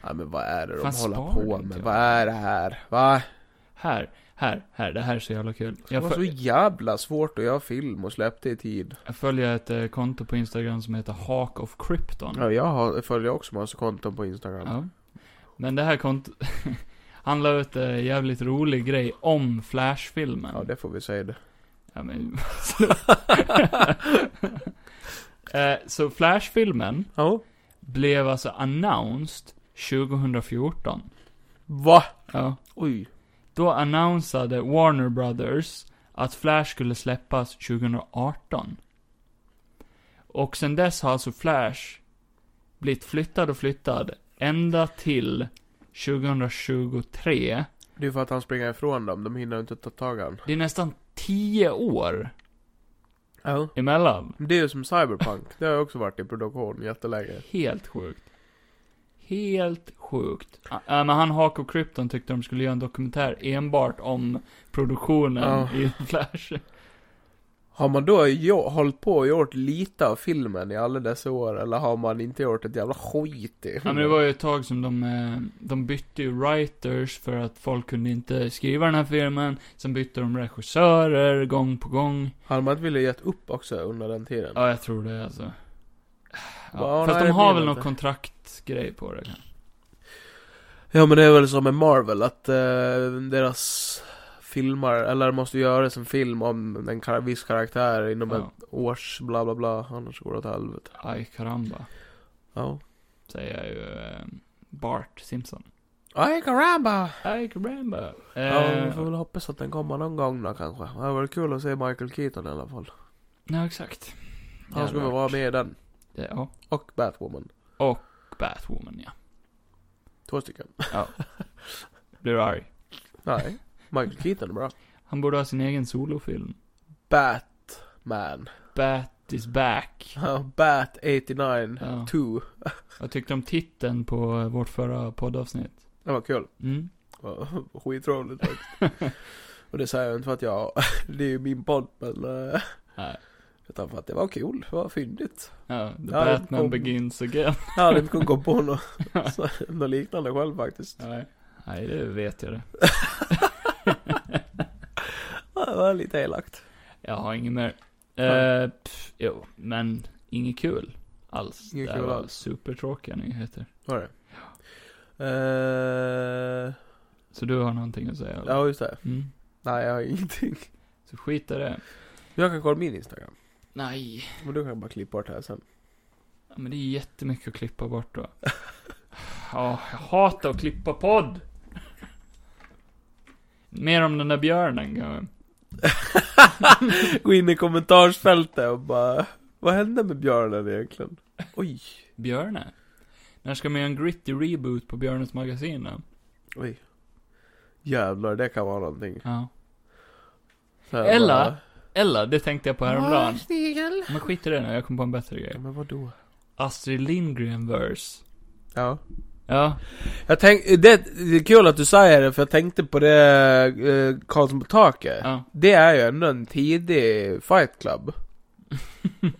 Speaker 3: Nej men vad är det de
Speaker 4: Fan,
Speaker 3: håller
Speaker 4: spar
Speaker 3: på
Speaker 4: det
Speaker 3: med?
Speaker 4: inte.
Speaker 3: Vad är det här? Va?
Speaker 4: Här, här, här. Det här är så jävla kul.
Speaker 3: Det
Speaker 4: Jag
Speaker 3: var
Speaker 4: för-
Speaker 3: så jävla svårt att göra film och släppte i tid.
Speaker 4: Jag följer ett eh, konto på Instagram som heter Hawk of Krypton.
Speaker 3: Ja, jag har, följer också massa konton på Instagram.
Speaker 4: Ja. Men det här kontot... Han la ut en eh, jävligt rolig grej om Flash-filmen.
Speaker 3: Ja, det får vi säga det.
Speaker 4: Ja, men... Eh, Så Flash-filmen
Speaker 3: Ja.
Speaker 4: blev alltså announced 2014.
Speaker 3: Va?
Speaker 4: Ja.
Speaker 3: Oj.
Speaker 4: Då annonsade Warner Brothers att Flash skulle släppas 2018. Och sen dess har alltså Flash blivit flyttad och flyttad ända till 2023.
Speaker 3: Det är för att han springer ifrån dem, de hinner inte ta tag i han.
Speaker 4: Det är nästan 10 år
Speaker 3: Ja.
Speaker 4: emellan.
Speaker 3: Men Det är ju som Cyberpunk, det har ju också varit i produktion jättelänge.
Speaker 4: Helt sjukt. Helt sjukt. Ah, ah, men han, Hawk och Krypton tyckte de skulle göra en dokumentär enbart om produktionen
Speaker 3: Ja.
Speaker 4: i Flash.
Speaker 3: Har man då jo, hållit på och gjort lite av filmen i alla dessa år eller har man inte gjort ett jävla skit i
Speaker 4: Ja, men det var ju ett tag som de, eh, de bytte ju writers för att folk kunde inte skriva den här filmen. Sen bytte de regissörer gång på gång.
Speaker 3: Hade man inte velat gett upp också under den tiden?
Speaker 4: Ja, jag tror det alltså. Ja,
Speaker 3: Ja,
Speaker 4: fast
Speaker 3: nej,
Speaker 4: de
Speaker 3: det blir
Speaker 4: har väl någon
Speaker 3: inte.
Speaker 4: kontraktgrej på det kanske.
Speaker 3: Ja men det är väl som med Marvel att eh, deras filmer, eller måste göra en film om en kar- viss karaktär inom
Speaker 4: Ja.
Speaker 3: ett års bla bla bla, annars går det åt helvete.
Speaker 4: Aj, karamba.
Speaker 3: Ja.
Speaker 4: Säger jag ju eh, Bart Simpson.
Speaker 3: Aj karamba!
Speaker 4: Aj, karamba. Eh,
Speaker 3: Ja, vi får väl hoppas att den kommer någon gång då kanske. Det hade varit kul att se Michael Keaton i alla fall.
Speaker 4: ja, exakt.
Speaker 3: Han skulle
Speaker 4: Jävlar.
Speaker 3: vara med i den.
Speaker 4: Det, ja.
Speaker 3: Och Batwoman.
Speaker 4: Batwoman, ja.
Speaker 3: Två stycken.
Speaker 4: Blir du arg?
Speaker 3: Nej. Michael Keaton är bra.
Speaker 4: Han borde ha sin egen solofilm.
Speaker 3: Batman.
Speaker 4: Bat is back.
Speaker 3: Bat 89
Speaker 4: Ja.
Speaker 3: 2.
Speaker 4: Jag tyckte om titeln på vårt förra poddavsnitt.
Speaker 3: Det var kul.
Speaker 4: Mm.
Speaker 3: Ja, Skitroligt faktiskt. Och det säger jag inte för att jag, det är ju min podd men, eh,
Speaker 4: Nej.
Speaker 3: utan för att det var kul, det var fyndigt.
Speaker 4: Ja, The
Speaker 3: Ja, det
Speaker 4: Batman
Speaker 3: kom-
Speaker 4: begins again.
Speaker 3: Jag hade inte kunnat gå på något, så- något liknande själv faktiskt.
Speaker 4: Nej. Nej, det vet jag det.
Speaker 3: Ja, Det var lite elakt.
Speaker 4: Jag har inget mer.
Speaker 3: Ja.
Speaker 4: Eh, pff, jo, men inget kul alls.
Speaker 3: Inget
Speaker 4: det
Speaker 3: kul
Speaker 4: var
Speaker 3: alls.
Speaker 4: supertråkiga nyheter.
Speaker 3: Var det? Eh,
Speaker 4: Så du har någonting att säga? eller?
Speaker 3: ja just det.
Speaker 4: Mm.
Speaker 3: Nej jag har ingenting.
Speaker 4: Så skit i det.
Speaker 3: Jag kan kolla min Instagram.
Speaker 4: Nej.
Speaker 3: Men du kan bara klippa bort det här sen.
Speaker 4: Ja, men det är jättemycket att klippa bort då. Ja, jag hatar att klippa podd. Mer om den där björnen kanske.
Speaker 3: Gå in i kommentarsfältet och bara, vad hände med björnen egentligen? Oj,
Speaker 4: Björne? När ska man göra en gritty reboot på Björnes magasin då?
Speaker 3: oj. Jävlar, det kan vara någonting.
Speaker 4: Ja.
Speaker 3: Så jag
Speaker 4: Eller-
Speaker 3: bara-
Speaker 4: Eller, det tänkte jag på häromdagen.
Speaker 3: Snigel.
Speaker 4: Men skit i det nu, jag kom på en bättre
Speaker 3: Ja,
Speaker 4: grej.
Speaker 3: men vadå?
Speaker 4: Astrid Lindgren-verse.
Speaker 3: Ja.
Speaker 4: Ja.
Speaker 3: Jag tänk, det, det är kul att du säger det, för jag tänkte på det, eh, Karlsson på taket.
Speaker 4: ja.
Speaker 3: Det är ju ändå en tidig fight club.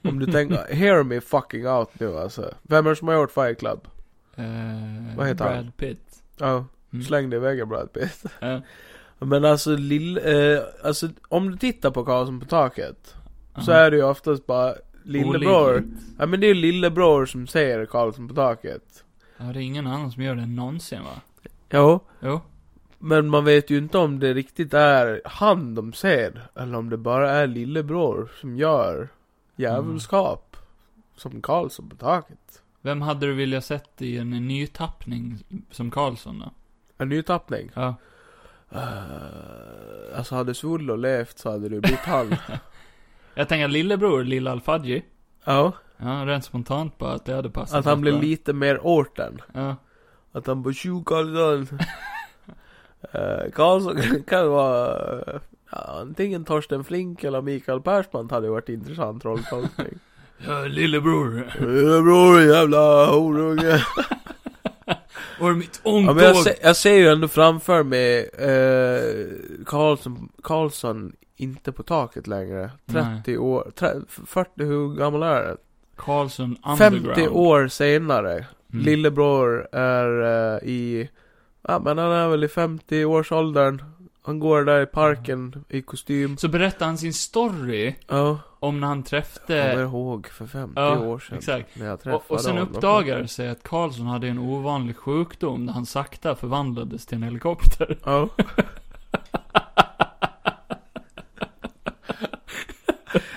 Speaker 3: Om du tänker, hear me fucking out nu alltså. Vem är det som har gjort fight club?
Speaker 4: Eh,
Speaker 3: Vad heter han?
Speaker 4: Brad Pitt.
Speaker 3: Ja,
Speaker 4: Mm.
Speaker 3: släng dig i väggen Brad Pitt.
Speaker 4: Ja.
Speaker 3: Men alltså, lill, eh, alltså om du tittar på Karlsson på taket, så
Speaker 4: Aha.
Speaker 3: är det ju oftast bara lillebror.
Speaker 4: Olidligt.
Speaker 3: Ja men det är ju lillebror som säger Karlsson på taket.
Speaker 4: Ja, det är ingen annan som gör det någonsin va?
Speaker 3: Jo.
Speaker 4: Jo.
Speaker 3: Men man vet ju inte om det riktigt är han de ser, eller om det bara är lillebror som gör djävulskap. Som Karlsson på taket.
Speaker 4: Vem hade du velat sett i en nytappning som Karlsson då?
Speaker 3: En ny tappning.
Speaker 4: Ja.
Speaker 3: Eh, alltså hade Svullo levt så hade det blivit han.
Speaker 4: Jag tänker lillebror, lilla Alfadji.
Speaker 3: Ja,
Speaker 4: Ja, rent spontant bara att det hade passat.
Speaker 3: att han
Speaker 4: rätt
Speaker 3: blir
Speaker 4: bra.
Speaker 3: lite mer orten.
Speaker 4: Ja.
Speaker 3: Att han bara 'Tjo Karlsson' Eh, Karlsson kan vara eh, antingen Torsten Flink eller Mikael Persbrandt hade ju varit intressant rolltolkning.
Speaker 4: ja, lillebror.
Speaker 3: Bror jävla horunge.
Speaker 4: Var mitt
Speaker 3: Ja,
Speaker 4: ångtåg?
Speaker 3: men jag, ser, jag ser ju ändå framför mig eh, Karlsson, Karlsson inte på taket längre. 30 år, tre- 40 hur gammal är det?
Speaker 4: Karlsson underground.
Speaker 3: 50 år senare.
Speaker 4: Mm.
Speaker 3: Lillebror är eh, i, ja men han är väl i 50 års åldern. Han går där i parken i kostym.
Speaker 4: Så berättar han sin story
Speaker 3: Ja,
Speaker 4: om när han
Speaker 3: kommer
Speaker 4: träffade...
Speaker 3: ihåg för 50
Speaker 4: Eh, Ja,
Speaker 3: år sedan.
Speaker 4: exakt.
Speaker 3: När jag träffade
Speaker 4: Och, och sen
Speaker 3: honom.
Speaker 4: uppdagar det sig att Karlsson hade en ovanlig sjukdom där han sakta förvandlades till en helikopter.
Speaker 3: Ja.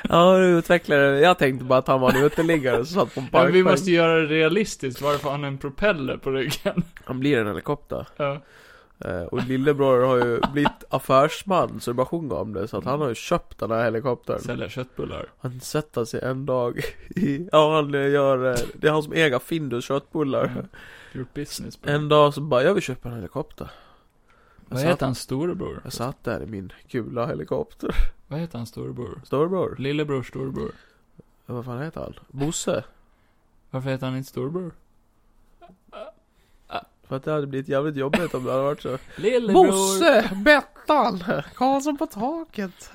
Speaker 3: Ja, du utvecklade det. Jag tänkte bara att han var en uteliggare som satt på en
Speaker 4: Ja, men vi
Speaker 3: parkbänk.
Speaker 4: måste göra det realistiskt varför han har en propeller på ryggen.
Speaker 3: Han blir en helikopter.
Speaker 4: Ja.
Speaker 3: Eh, Och lillebror har ju blivit affärsman så det bara sjunger om det. Så att han har ju köpt den här helikoptern.
Speaker 4: Sälja köttbullar.
Speaker 3: Han sätter sig en dag i... Ja, han gör... eh, Det är han som äger Findus
Speaker 4: Mm.
Speaker 3: köttbullar.
Speaker 4: Gjort business på
Speaker 3: En dag så bara, jag vill köpa en helikopter.
Speaker 4: Vad
Speaker 3: satt-
Speaker 4: heter hans storebror?
Speaker 3: Jag satt där i min gula helikopter.
Speaker 4: Vad heter hans storebror?
Speaker 3: Storbror.
Speaker 4: Lillebror, storebror.
Speaker 3: Vad fan heter han? Bosse?
Speaker 4: Varför heter han inte storebror?
Speaker 3: För att det hade blivit jävligt jobbigt om det hade varit så.
Speaker 4: Lillebror!
Speaker 3: Bosse! Bettan! Karlsson på taket!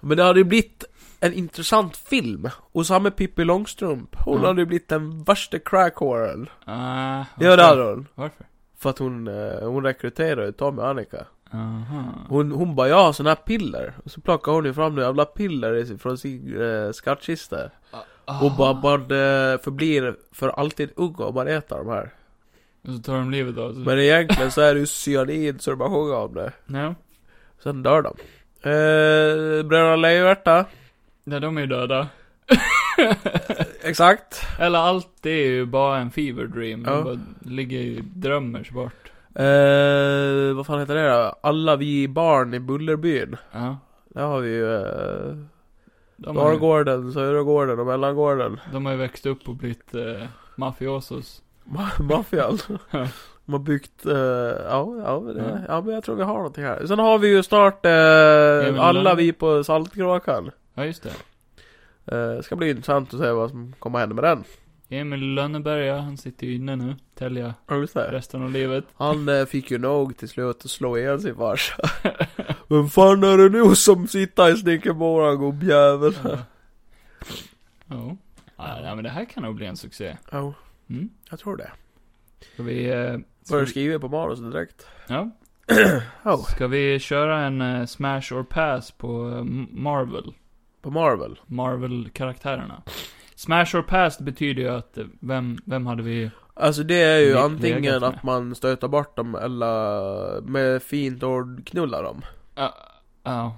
Speaker 3: Men det hade ju blivit en intressant film. Och samma Pippi Långstrump, hon
Speaker 4: Ja.
Speaker 3: hade ju blivit den värsta crackhåren.
Speaker 4: Ah,
Speaker 3: Ja det hade hon.
Speaker 4: Varför?
Speaker 3: För att hon, eh, hon rekryterade Tommy och Annika.
Speaker 4: Aha.
Speaker 3: Hon, hon bara 'Jag har såna här piller' Och så plockar hon ju fram några jävla piller i sin- från sin eh, skattkista Och bara, bara eh, förblir för alltid ung om man äter de här
Speaker 4: Och så tar de livet av sig.
Speaker 3: Men egentligen så är det ju cyanid så det bara sjunger om det
Speaker 4: Ja.
Speaker 3: Sen dör de eh, Bröderna Lejonhjärta
Speaker 4: Nej, de är ju döda.
Speaker 3: Exakt
Speaker 4: Eller allt är ju bara en fever dream.
Speaker 3: Ja.
Speaker 4: De bara ligger ju drömmers bort.
Speaker 3: eh, Vad fan heter det då? Alla vi barn i Bullerbyn
Speaker 4: Ja.
Speaker 3: Där har vi ju eh,
Speaker 4: De har, ju,
Speaker 3: Norrgården, Södergården och Mellangården
Speaker 4: de har ju växt upp och blivit eh, mafiosos.
Speaker 3: Ma- Maffian.
Speaker 4: Ja.
Speaker 3: De har byggt, eh, ja, ja, men det,
Speaker 4: Ja.
Speaker 3: ja men jag tror vi har någonting här. Sen har vi ju snart eh,
Speaker 4: men
Speaker 3: alla
Speaker 4: den-
Speaker 3: vi på Saltkråkan.
Speaker 4: Ja, just det.
Speaker 3: Eh, ska bli intressant att se vad som kommer hända med den.
Speaker 4: Emil Lönneberga, han sitter ju inne nu. Tälja
Speaker 3: Ja, just det.
Speaker 4: resten av livet.
Speaker 3: Han eh, fick ju nog till slut att slå ihjäl sin farsa. Vem fan är det nu som sitter i snickerboran gubbjävel?
Speaker 4: Ja. Ja. Ja, nej, men det här kan nog bli en succé.
Speaker 3: Ja,
Speaker 4: Mm.
Speaker 3: jag tror det.
Speaker 4: Ska vi... Eh, ska,
Speaker 3: Börjar
Speaker 4: vi
Speaker 3: skriva på manuset direkt.
Speaker 4: ja.
Speaker 3: Oh,
Speaker 4: ska vi köra en eh, smash or pass på eh, M- Marvel?
Speaker 3: på Marvel.
Speaker 4: Marvel-karaktärerna. Smash or pass betyder ju att eh, vem, vem hade vi...
Speaker 3: Alltså det är ju
Speaker 4: Le-
Speaker 3: antingen
Speaker 4: legat med.
Speaker 3: att man stöter bort dem eller med fint ord knullar dem.
Speaker 4: Ja. ja.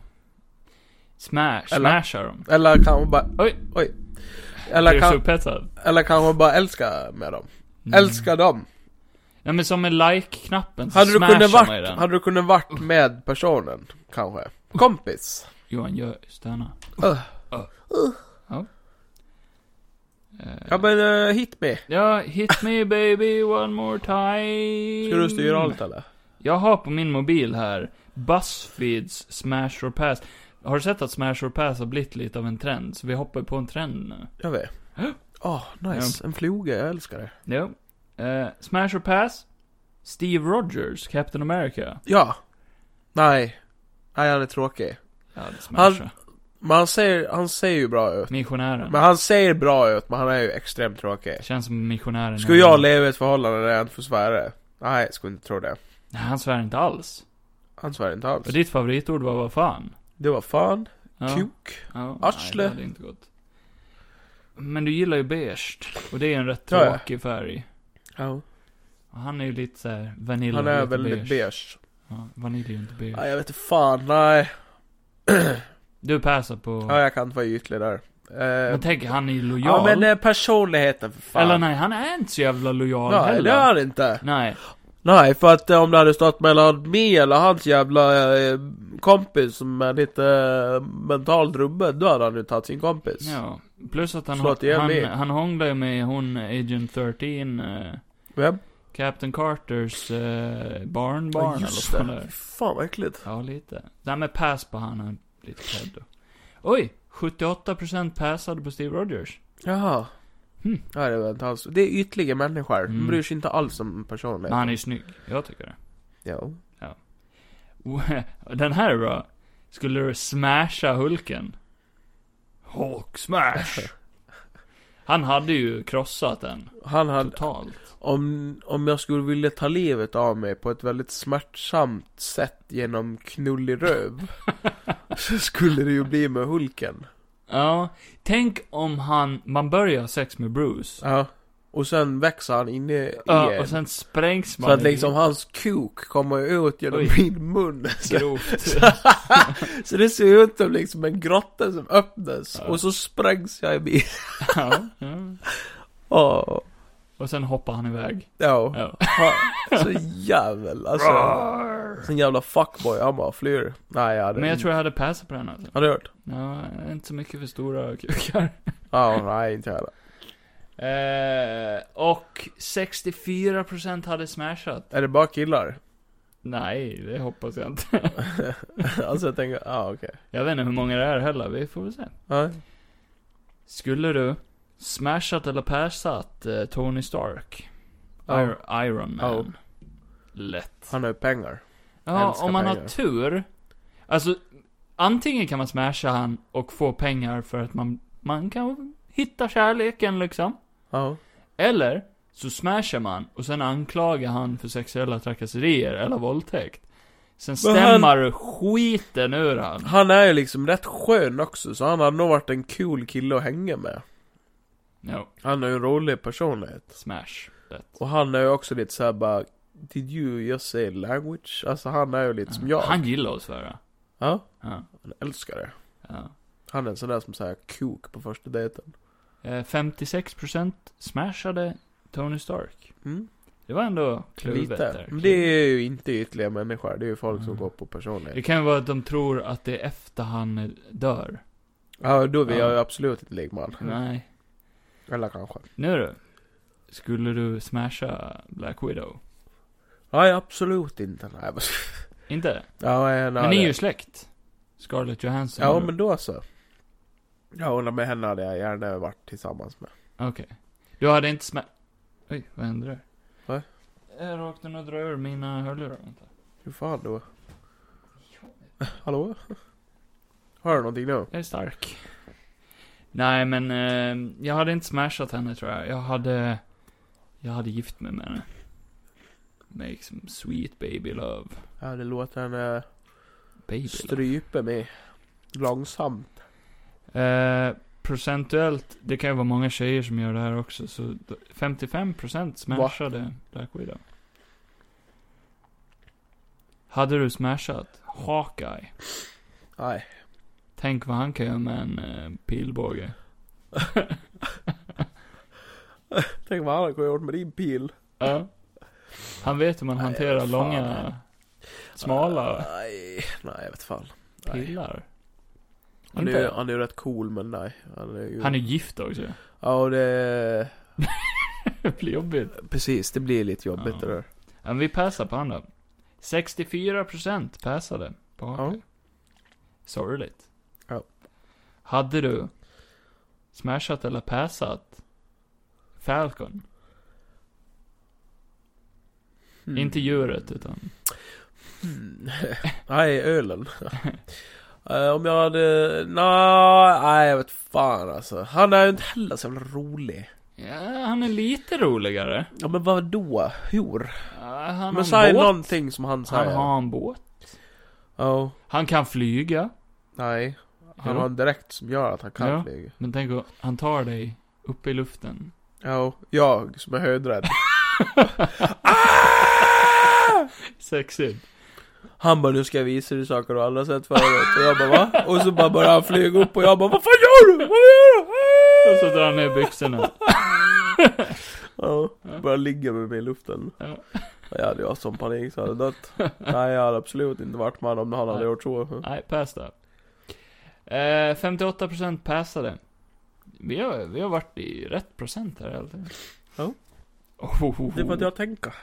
Speaker 4: Smash,
Speaker 3: Eller-
Speaker 4: smasha dem.
Speaker 3: Eller kan man bara...
Speaker 4: Oj.
Speaker 3: Oj.
Speaker 4: Blir
Speaker 3: Eller
Speaker 4: du
Speaker 3: kan,
Speaker 4: så upphetsad?
Speaker 3: eller kan man bara älska med dem?
Speaker 4: Mm.
Speaker 3: Älska dem!
Speaker 4: Ja men som med like-knappen, så
Speaker 3: Hade du, kunnat
Speaker 4: smashar man ju
Speaker 3: varit,
Speaker 4: den.
Speaker 3: hade du kunnat varit med personen, kanske? Kompis?
Speaker 4: Johan, gör stöna.
Speaker 3: Ugh.
Speaker 4: Ja. Eh,
Speaker 3: Ja men, eh, hit me!
Speaker 4: Ja, hit me baby one more time.
Speaker 3: Ska du styra allt eller?
Speaker 4: Jag har på min mobil här, Buzzfeeds Smash or Pass. Har du sett att Smash or Pass har blivit lite av en trend? Så vi hoppar på en trend nu.
Speaker 3: Jag vet. Åh, Ah, nice. En fluga, jag älskar det.
Speaker 4: Jo. Eh, Smash or Pass? Steve Rogers, Captain America.
Speaker 3: Ja. Nej. Nej, han är tråkig.
Speaker 4: Ja, det smashar.
Speaker 3: Men han ser, han ser ju bra ut.
Speaker 4: Missionären.
Speaker 3: Men han ser bra ut, men han är ju extremt tråkig.
Speaker 4: Känns som missionären.
Speaker 3: Skulle jag leva i ett förhållande där jag inte får svära? Nej, skulle inte tro det.
Speaker 4: Nej, han svär inte alls.
Speaker 3: Han svär inte alls.
Speaker 4: Och ditt favoritord var vad fan?
Speaker 3: Det var fan,
Speaker 4: Ja.
Speaker 3: kuk.
Speaker 4: Ja,
Speaker 3: Arsle.
Speaker 4: Nej, det hade inte gått. Men du gillar ju beige. Och det är en rätt
Speaker 3: Ja, ja.
Speaker 4: tråkig färg.
Speaker 3: Ja.
Speaker 4: Och han är ju lite såhär vanilla.
Speaker 3: Han är
Speaker 4: lite
Speaker 3: väldigt beige.
Speaker 4: Ja, vanilj är ju inte beige.
Speaker 3: Nej, jag vet inte fan, nej.
Speaker 4: Du passar på...
Speaker 3: Ja, jag kan inte vara ytlig där. Eh,
Speaker 4: Men tänk, han är ju lojal.
Speaker 3: ja, men eh, personligheten för fan.
Speaker 4: Eller nej, han är inte så jävla lojal
Speaker 3: nej,
Speaker 4: heller.
Speaker 3: det är han inte.
Speaker 4: Nej.
Speaker 3: Nej, för att eh, om det hade stått mellan mig eller hans jävla eh, kompis som är lite eh, mentalt rubbad, då hade han ju tagit sin kompis.
Speaker 4: Ja. Plus att han,
Speaker 3: Slå till
Speaker 4: han,
Speaker 3: mig.
Speaker 4: han hånglar ju med hon Agent 13, eh,
Speaker 3: Vem?
Speaker 4: Captain Carters eh, barnbarn
Speaker 3: Ja, just
Speaker 4: eller vad fan
Speaker 3: det.
Speaker 4: det
Speaker 3: Fy
Speaker 4: är.
Speaker 3: Fan vad äckligt.
Speaker 4: Ja, lite. Nej men pass på han, han är lite peddo. Oj! 78% passade på Steve Rogers.
Speaker 3: Jaha.
Speaker 4: Hmm.
Speaker 3: Ja, det var inte alls. Det är ytliga människor. De
Speaker 4: Mm.
Speaker 3: bryr sig inte alls om
Speaker 4: Men
Speaker 3: personlighet.
Speaker 4: han är ju snygg. Jag tycker det.
Speaker 3: Ja.
Speaker 4: Den här är bra. Skulle du smasha Hulken? Hulk smash! Han hade ju krossat den.
Speaker 3: Han hade,
Speaker 4: Totalt.
Speaker 3: Om, om jag skulle vilja ta livet av mig på ett väldigt smärtsamt sätt genom knullig röv Så skulle det ju bli med Hulken
Speaker 4: Ja. Tänk om han, man börjar ha sex med Bruce.
Speaker 3: Ja Och sen växer han inne i
Speaker 4: Ja,
Speaker 3: en.
Speaker 4: och sen sprängs man.
Speaker 3: Så att
Speaker 4: i-
Speaker 3: liksom hans kuk kommer ju ut genom
Speaker 4: Oj.
Speaker 3: min mun så,
Speaker 4: Grovt.
Speaker 3: så det ser ut som liksom en grotta som öppnas
Speaker 4: Ja.
Speaker 3: och så sprängs jag i bilen
Speaker 4: ja, ja.
Speaker 3: Ja,
Speaker 4: Och sen hoppar han iväg.
Speaker 3: ja.
Speaker 4: Ja.
Speaker 3: Så jävel alltså Sån jävla fuckboy, han bara flyr Nej jag hade
Speaker 4: Men jag tror jag hade passat på den alltså.
Speaker 3: Har du hört?
Speaker 4: Ja, inte så mycket för stora kukar.
Speaker 3: Ja, nej inte jag heller.
Speaker 4: Eh, och 64% hade smashat.
Speaker 3: Är det bara killar?
Speaker 4: Nej, det hoppas jag inte.
Speaker 3: alltså jag tänker, ja ah, okej.
Speaker 4: Jag vet inte hur många det är heller, vi får väl se.
Speaker 3: Nej.
Speaker 4: Skulle du smashat eller passat eh, Tony Stark?
Speaker 3: Ja.
Speaker 4: Ir- Iron Man.
Speaker 3: Ja.
Speaker 4: Lätt.
Speaker 3: Han har ju pengar.
Speaker 4: Ja,
Speaker 3: Älskar
Speaker 4: om man har
Speaker 3: pengar.
Speaker 4: tur. Alltså, Antingen kan man smasha han och få pengar för att man, man kan hitta kärleken liksom.
Speaker 3: Ja.
Speaker 4: Eller så smashar man och sen anklagar han för sexuella trakasserier eller våldtäkt. Sen
Speaker 3: Men
Speaker 4: stämmer du skiten ur han.
Speaker 3: Han är ju liksom rätt skön också, så han hade nog varit en cool kille att hänga med.
Speaker 4: No,
Speaker 3: Han är ju en rolig personlighet.
Speaker 4: smash. That.
Speaker 3: Och han är ju också lite såhär bara Did you just say language? Alltså han är ju lite som jag.
Speaker 4: Han gillar att svära.
Speaker 3: Ja,
Speaker 4: Ja,
Speaker 3: han älskar det.
Speaker 4: ja.
Speaker 3: Han är en sån där som säger kok på första dejten.
Speaker 4: Eh, 56% smashade Tony Stark.
Speaker 3: Mm.
Speaker 4: Det var ändå kluvet
Speaker 3: Lite.
Speaker 4: där.
Speaker 3: Men det är ju inte ytliga människor, det är ju folk som
Speaker 4: Mm.
Speaker 3: går på
Speaker 4: Det
Speaker 3: personlighet.
Speaker 4: kan ju vara att de tror att det är efter han dör.
Speaker 3: Ja, då vill jag
Speaker 4: Ja.
Speaker 3: ju absolut inte lekman.
Speaker 4: Nej.
Speaker 3: Eller kanske.
Speaker 4: Nu du. Skulle du smasha Black Widow?
Speaker 3: Nej, absolut inte. Nej, vad-
Speaker 4: Inte?
Speaker 3: ja, nej, nej,
Speaker 4: men ni är
Speaker 3: det-
Speaker 4: ju släkt. Scarlett Johansson.
Speaker 3: Ja, men då så. Jag håller med henne hade jag gärna varit tillsammans med.
Speaker 4: Okej. Du hade inte sma... Oj, vad hände där?
Speaker 3: Vad?
Speaker 4: Jag råkade nog dra ur mina hörlurar. Vänta.
Speaker 3: Hur fan då? Hallå? Hör du någonting nu?
Speaker 4: Jag är stark. Nej, men eh, jag hade inte smashat henne tror jag. Jag hade... Jag hade gift mig med henne. Make some sweet baby love.
Speaker 3: Jag hade låtit henne
Speaker 4: Baby love.
Speaker 3: strypa mig. Långsamt.
Speaker 4: Eh, procentuellt, det kan ju vara många tjejer som gör det här också, så d- 55% smashade Black Widow. Hade du smashat Hawkeye?
Speaker 3: Nej.
Speaker 4: Tänk vad han kan göra med en eh, pilbåge.
Speaker 3: Tänk vad han hade kunnat gjort med din pil.
Speaker 4: Ja. Han vet hur man
Speaker 3: Nej,
Speaker 4: hanterar
Speaker 3: fan.
Speaker 4: långa, smala
Speaker 3: Nej, nej jag vet fan. Nej.
Speaker 4: pillar.
Speaker 3: Han är,
Speaker 4: Inte?
Speaker 3: ju, han är ju rätt cool men nej. Han är ju...
Speaker 4: Han är gift också.
Speaker 3: Ja och det...
Speaker 4: Det blir jobbigt.
Speaker 3: Precis, det blir lite jobbigt
Speaker 4: Ja.
Speaker 3: det där.
Speaker 4: Ja, Men vi passar på han då. 64% passade på Hawkeye. Sorgligt.
Speaker 3: Ja.
Speaker 4: Hade du smashat eller passat Falcon?
Speaker 3: Mm.
Speaker 4: Inte djuret, utan...
Speaker 3: Mm. Nej, ölen. Eh, om jag hade... Nå, nej jag vet fan alltså. Han är ju inte heller så jävla rolig.
Speaker 4: Ja, han är lite roligare.
Speaker 3: Ja men vad då? Hur?
Speaker 4: Ja, han
Speaker 3: men
Speaker 4: har en
Speaker 3: säg
Speaker 4: båt.
Speaker 3: någonting som han
Speaker 4: Han
Speaker 3: säger. Ja.
Speaker 4: har en båt. Han kan flyga.
Speaker 3: nej. Han
Speaker 4: Jo.
Speaker 3: har en direkt som gör att han kan
Speaker 4: Ja.
Speaker 3: flyga.
Speaker 4: Men tänk att han tar dig uppe i luften.
Speaker 3: Ja, jag som är höjdrädd.
Speaker 4: Sexigt.
Speaker 3: Han bara nu ska jag visa dig saker du aldrig har sett förut. Och jag bara va? Och så bara börjar han flyga upp och jag bara vad fan gör du? Vad gör du? Ah!
Speaker 4: Och så drar han ner byxorna.
Speaker 3: Ja, bara ligga med mig i luften.
Speaker 4: Ja.
Speaker 3: Jag hade ju haft sån panik så jag hade dött. Nej, jag hade absolut inte varit med honom om han hade
Speaker 4: Nej.
Speaker 3: gjort så.
Speaker 4: Nej, pass där. Eh, 58% passade. Vi har, vi har varit i rätt procent här helt enkelt.
Speaker 3: Ja.
Speaker 4: Oh, oh, oh.
Speaker 3: Det är för att jag tänker.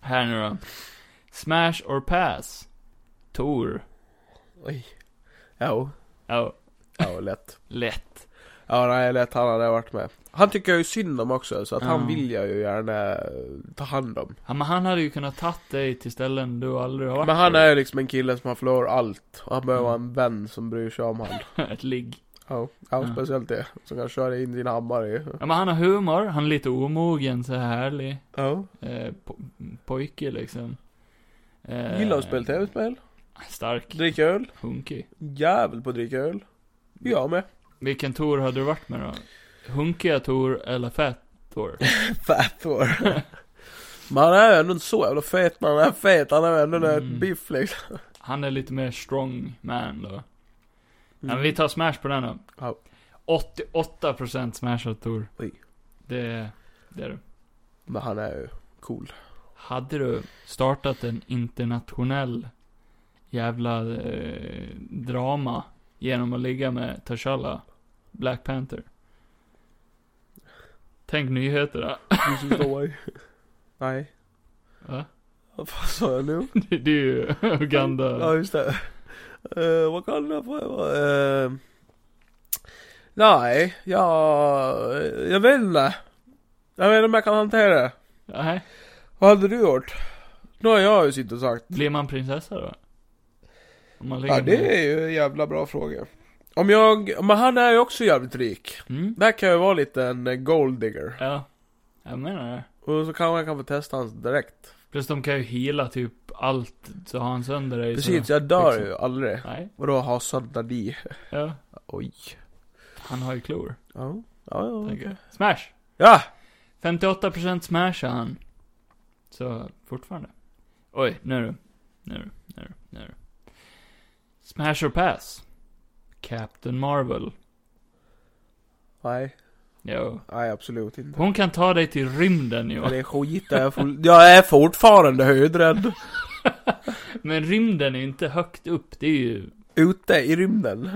Speaker 4: Här nu då. Smash or pass? Tor.
Speaker 3: Oj. Ja,
Speaker 4: Ja,
Speaker 3: ja lätt.
Speaker 4: lätt.
Speaker 3: Ja, nej, lätt han hade varit med. Han tycker jag ju synd om också, så att
Speaker 4: Ja.
Speaker 3: han vill jag ju gärna eh, ta hand om.
Speaker 4: Ja, men han hade ju kunnat tagit dig till ställen du aldrig har varit
Speaker 3: Men han
Speaker 4: på.
Speaker 3: är ju liksom en kille som har förlorat allt. Och han behöver
Speaker 4: Mm.
Speaker 3: en vän som bryr sig om han.
Speaker 4: Ett ligg.
Speaker 3: Ja, ja,
Speaker 4: Ja.
Speaker 3: speciellt det. Som kan köra in sin hammare i.
Speaker 4: Ja, men han har humor, han är lite omogen, så här härlig.
Speaker 3: Ja.
Speaker 4: Eh, po pojke liksom. Eh,
Speaker 3: Gillar att spela tv-spel.
Speaker 4: Stark.
Speaker 3: Dricka öl.
Speaker 4: Hunkig.
Speaker 3: Jävel på att dricka öl. Jag med.
Speaker 4: Vilken Tor hade du varit med då? Hunkiga Tor eller Fat Tor?
Speaker 3: Fat Thor. Men han är ju ändå inte så jävla fet, men han är fet. Han är ju ändå en
Speaker 4: Mm.
Speaker 3: biff liksom.
Speaker 4: Han är lite mer strong man då. Ja, men vi tar smash på den då.
Speaker 3: Ja.
Speaker 4: 88% smash av Tor.
Speaker 3: Oj.
Speaker 4: Det, det är det.
Speaker 3: Men han är ju cool.
Speaker 4: Hade du startat en internationell jävla eh, drama genom att ligga med T'Challa, Black Panther? Tänk nyheterna.
Speaker 3: Du som står i. Nej.
Speaker 4: Va?
Speaker 3: Vad fan sa jag nu?
Speaker 4: Det det är ju
Speaker 3: Ja,
Speaker 4: Uganda.
Speaker 3: just det. Eh, vad kan jag få? Uh, nej, jag... Jag vet inte. Jag vet inte om jag kan hantera det.
Speaker 4: Nej.
Speaker 3: Vad hade du gjort? Nu har jag ju suttit och sagt.
Speaker 4: Blir man prinsessa då? Om man lägger
Speaker 3: Ja,
Speaker 4: med-
Speaker 3: det är ju en jävla bra fråga. Om jag, men han är ju också jävligt rik.
Speaker 4: Mm?
Speaker 3: Där kan jag vara lite en eh, gold digger.
Speaker 4: Ja. Jag menar det.
Speaker 3: Och så kan man kan få testa hans direkt.
Speaker 4: Plus de kan ju hela typ allt, så har han sönder dig så...
Speaker 3: Precis, jag dör
Speaker 4: liksom.
Speaker 3: ju aldrig.
Speaker 4: Nej,
Speaker 3: Vadå ha sönder di?
Speaker 4: ja.
Speaker 3: Oj.
Speaker 4: Han har ju klor,
Speaker 3: Ja, ja, ja.
Speaker 4: tänker jag. Smash!
Speaker 3: Ja!
Speaker 4: 58% smash är han. Så, fortfarande. Oj, nu är du. Nu är du, nu är du, nu är du. Smash or pass? Captain Marvel.
Speaker 3: Nej,
Speaker 4: Jo.
Speaker 3: nej absolut inte.
Speaker 4: Hon kan ta dig till rymden ju.
Speaker 3: Men Det är skit, jag är, full... jag är fortfarande höjdrädd.
Speaker 4: Men rymden är ju inte högt upp, det är ju...
Speaker 3: Ute i rymden.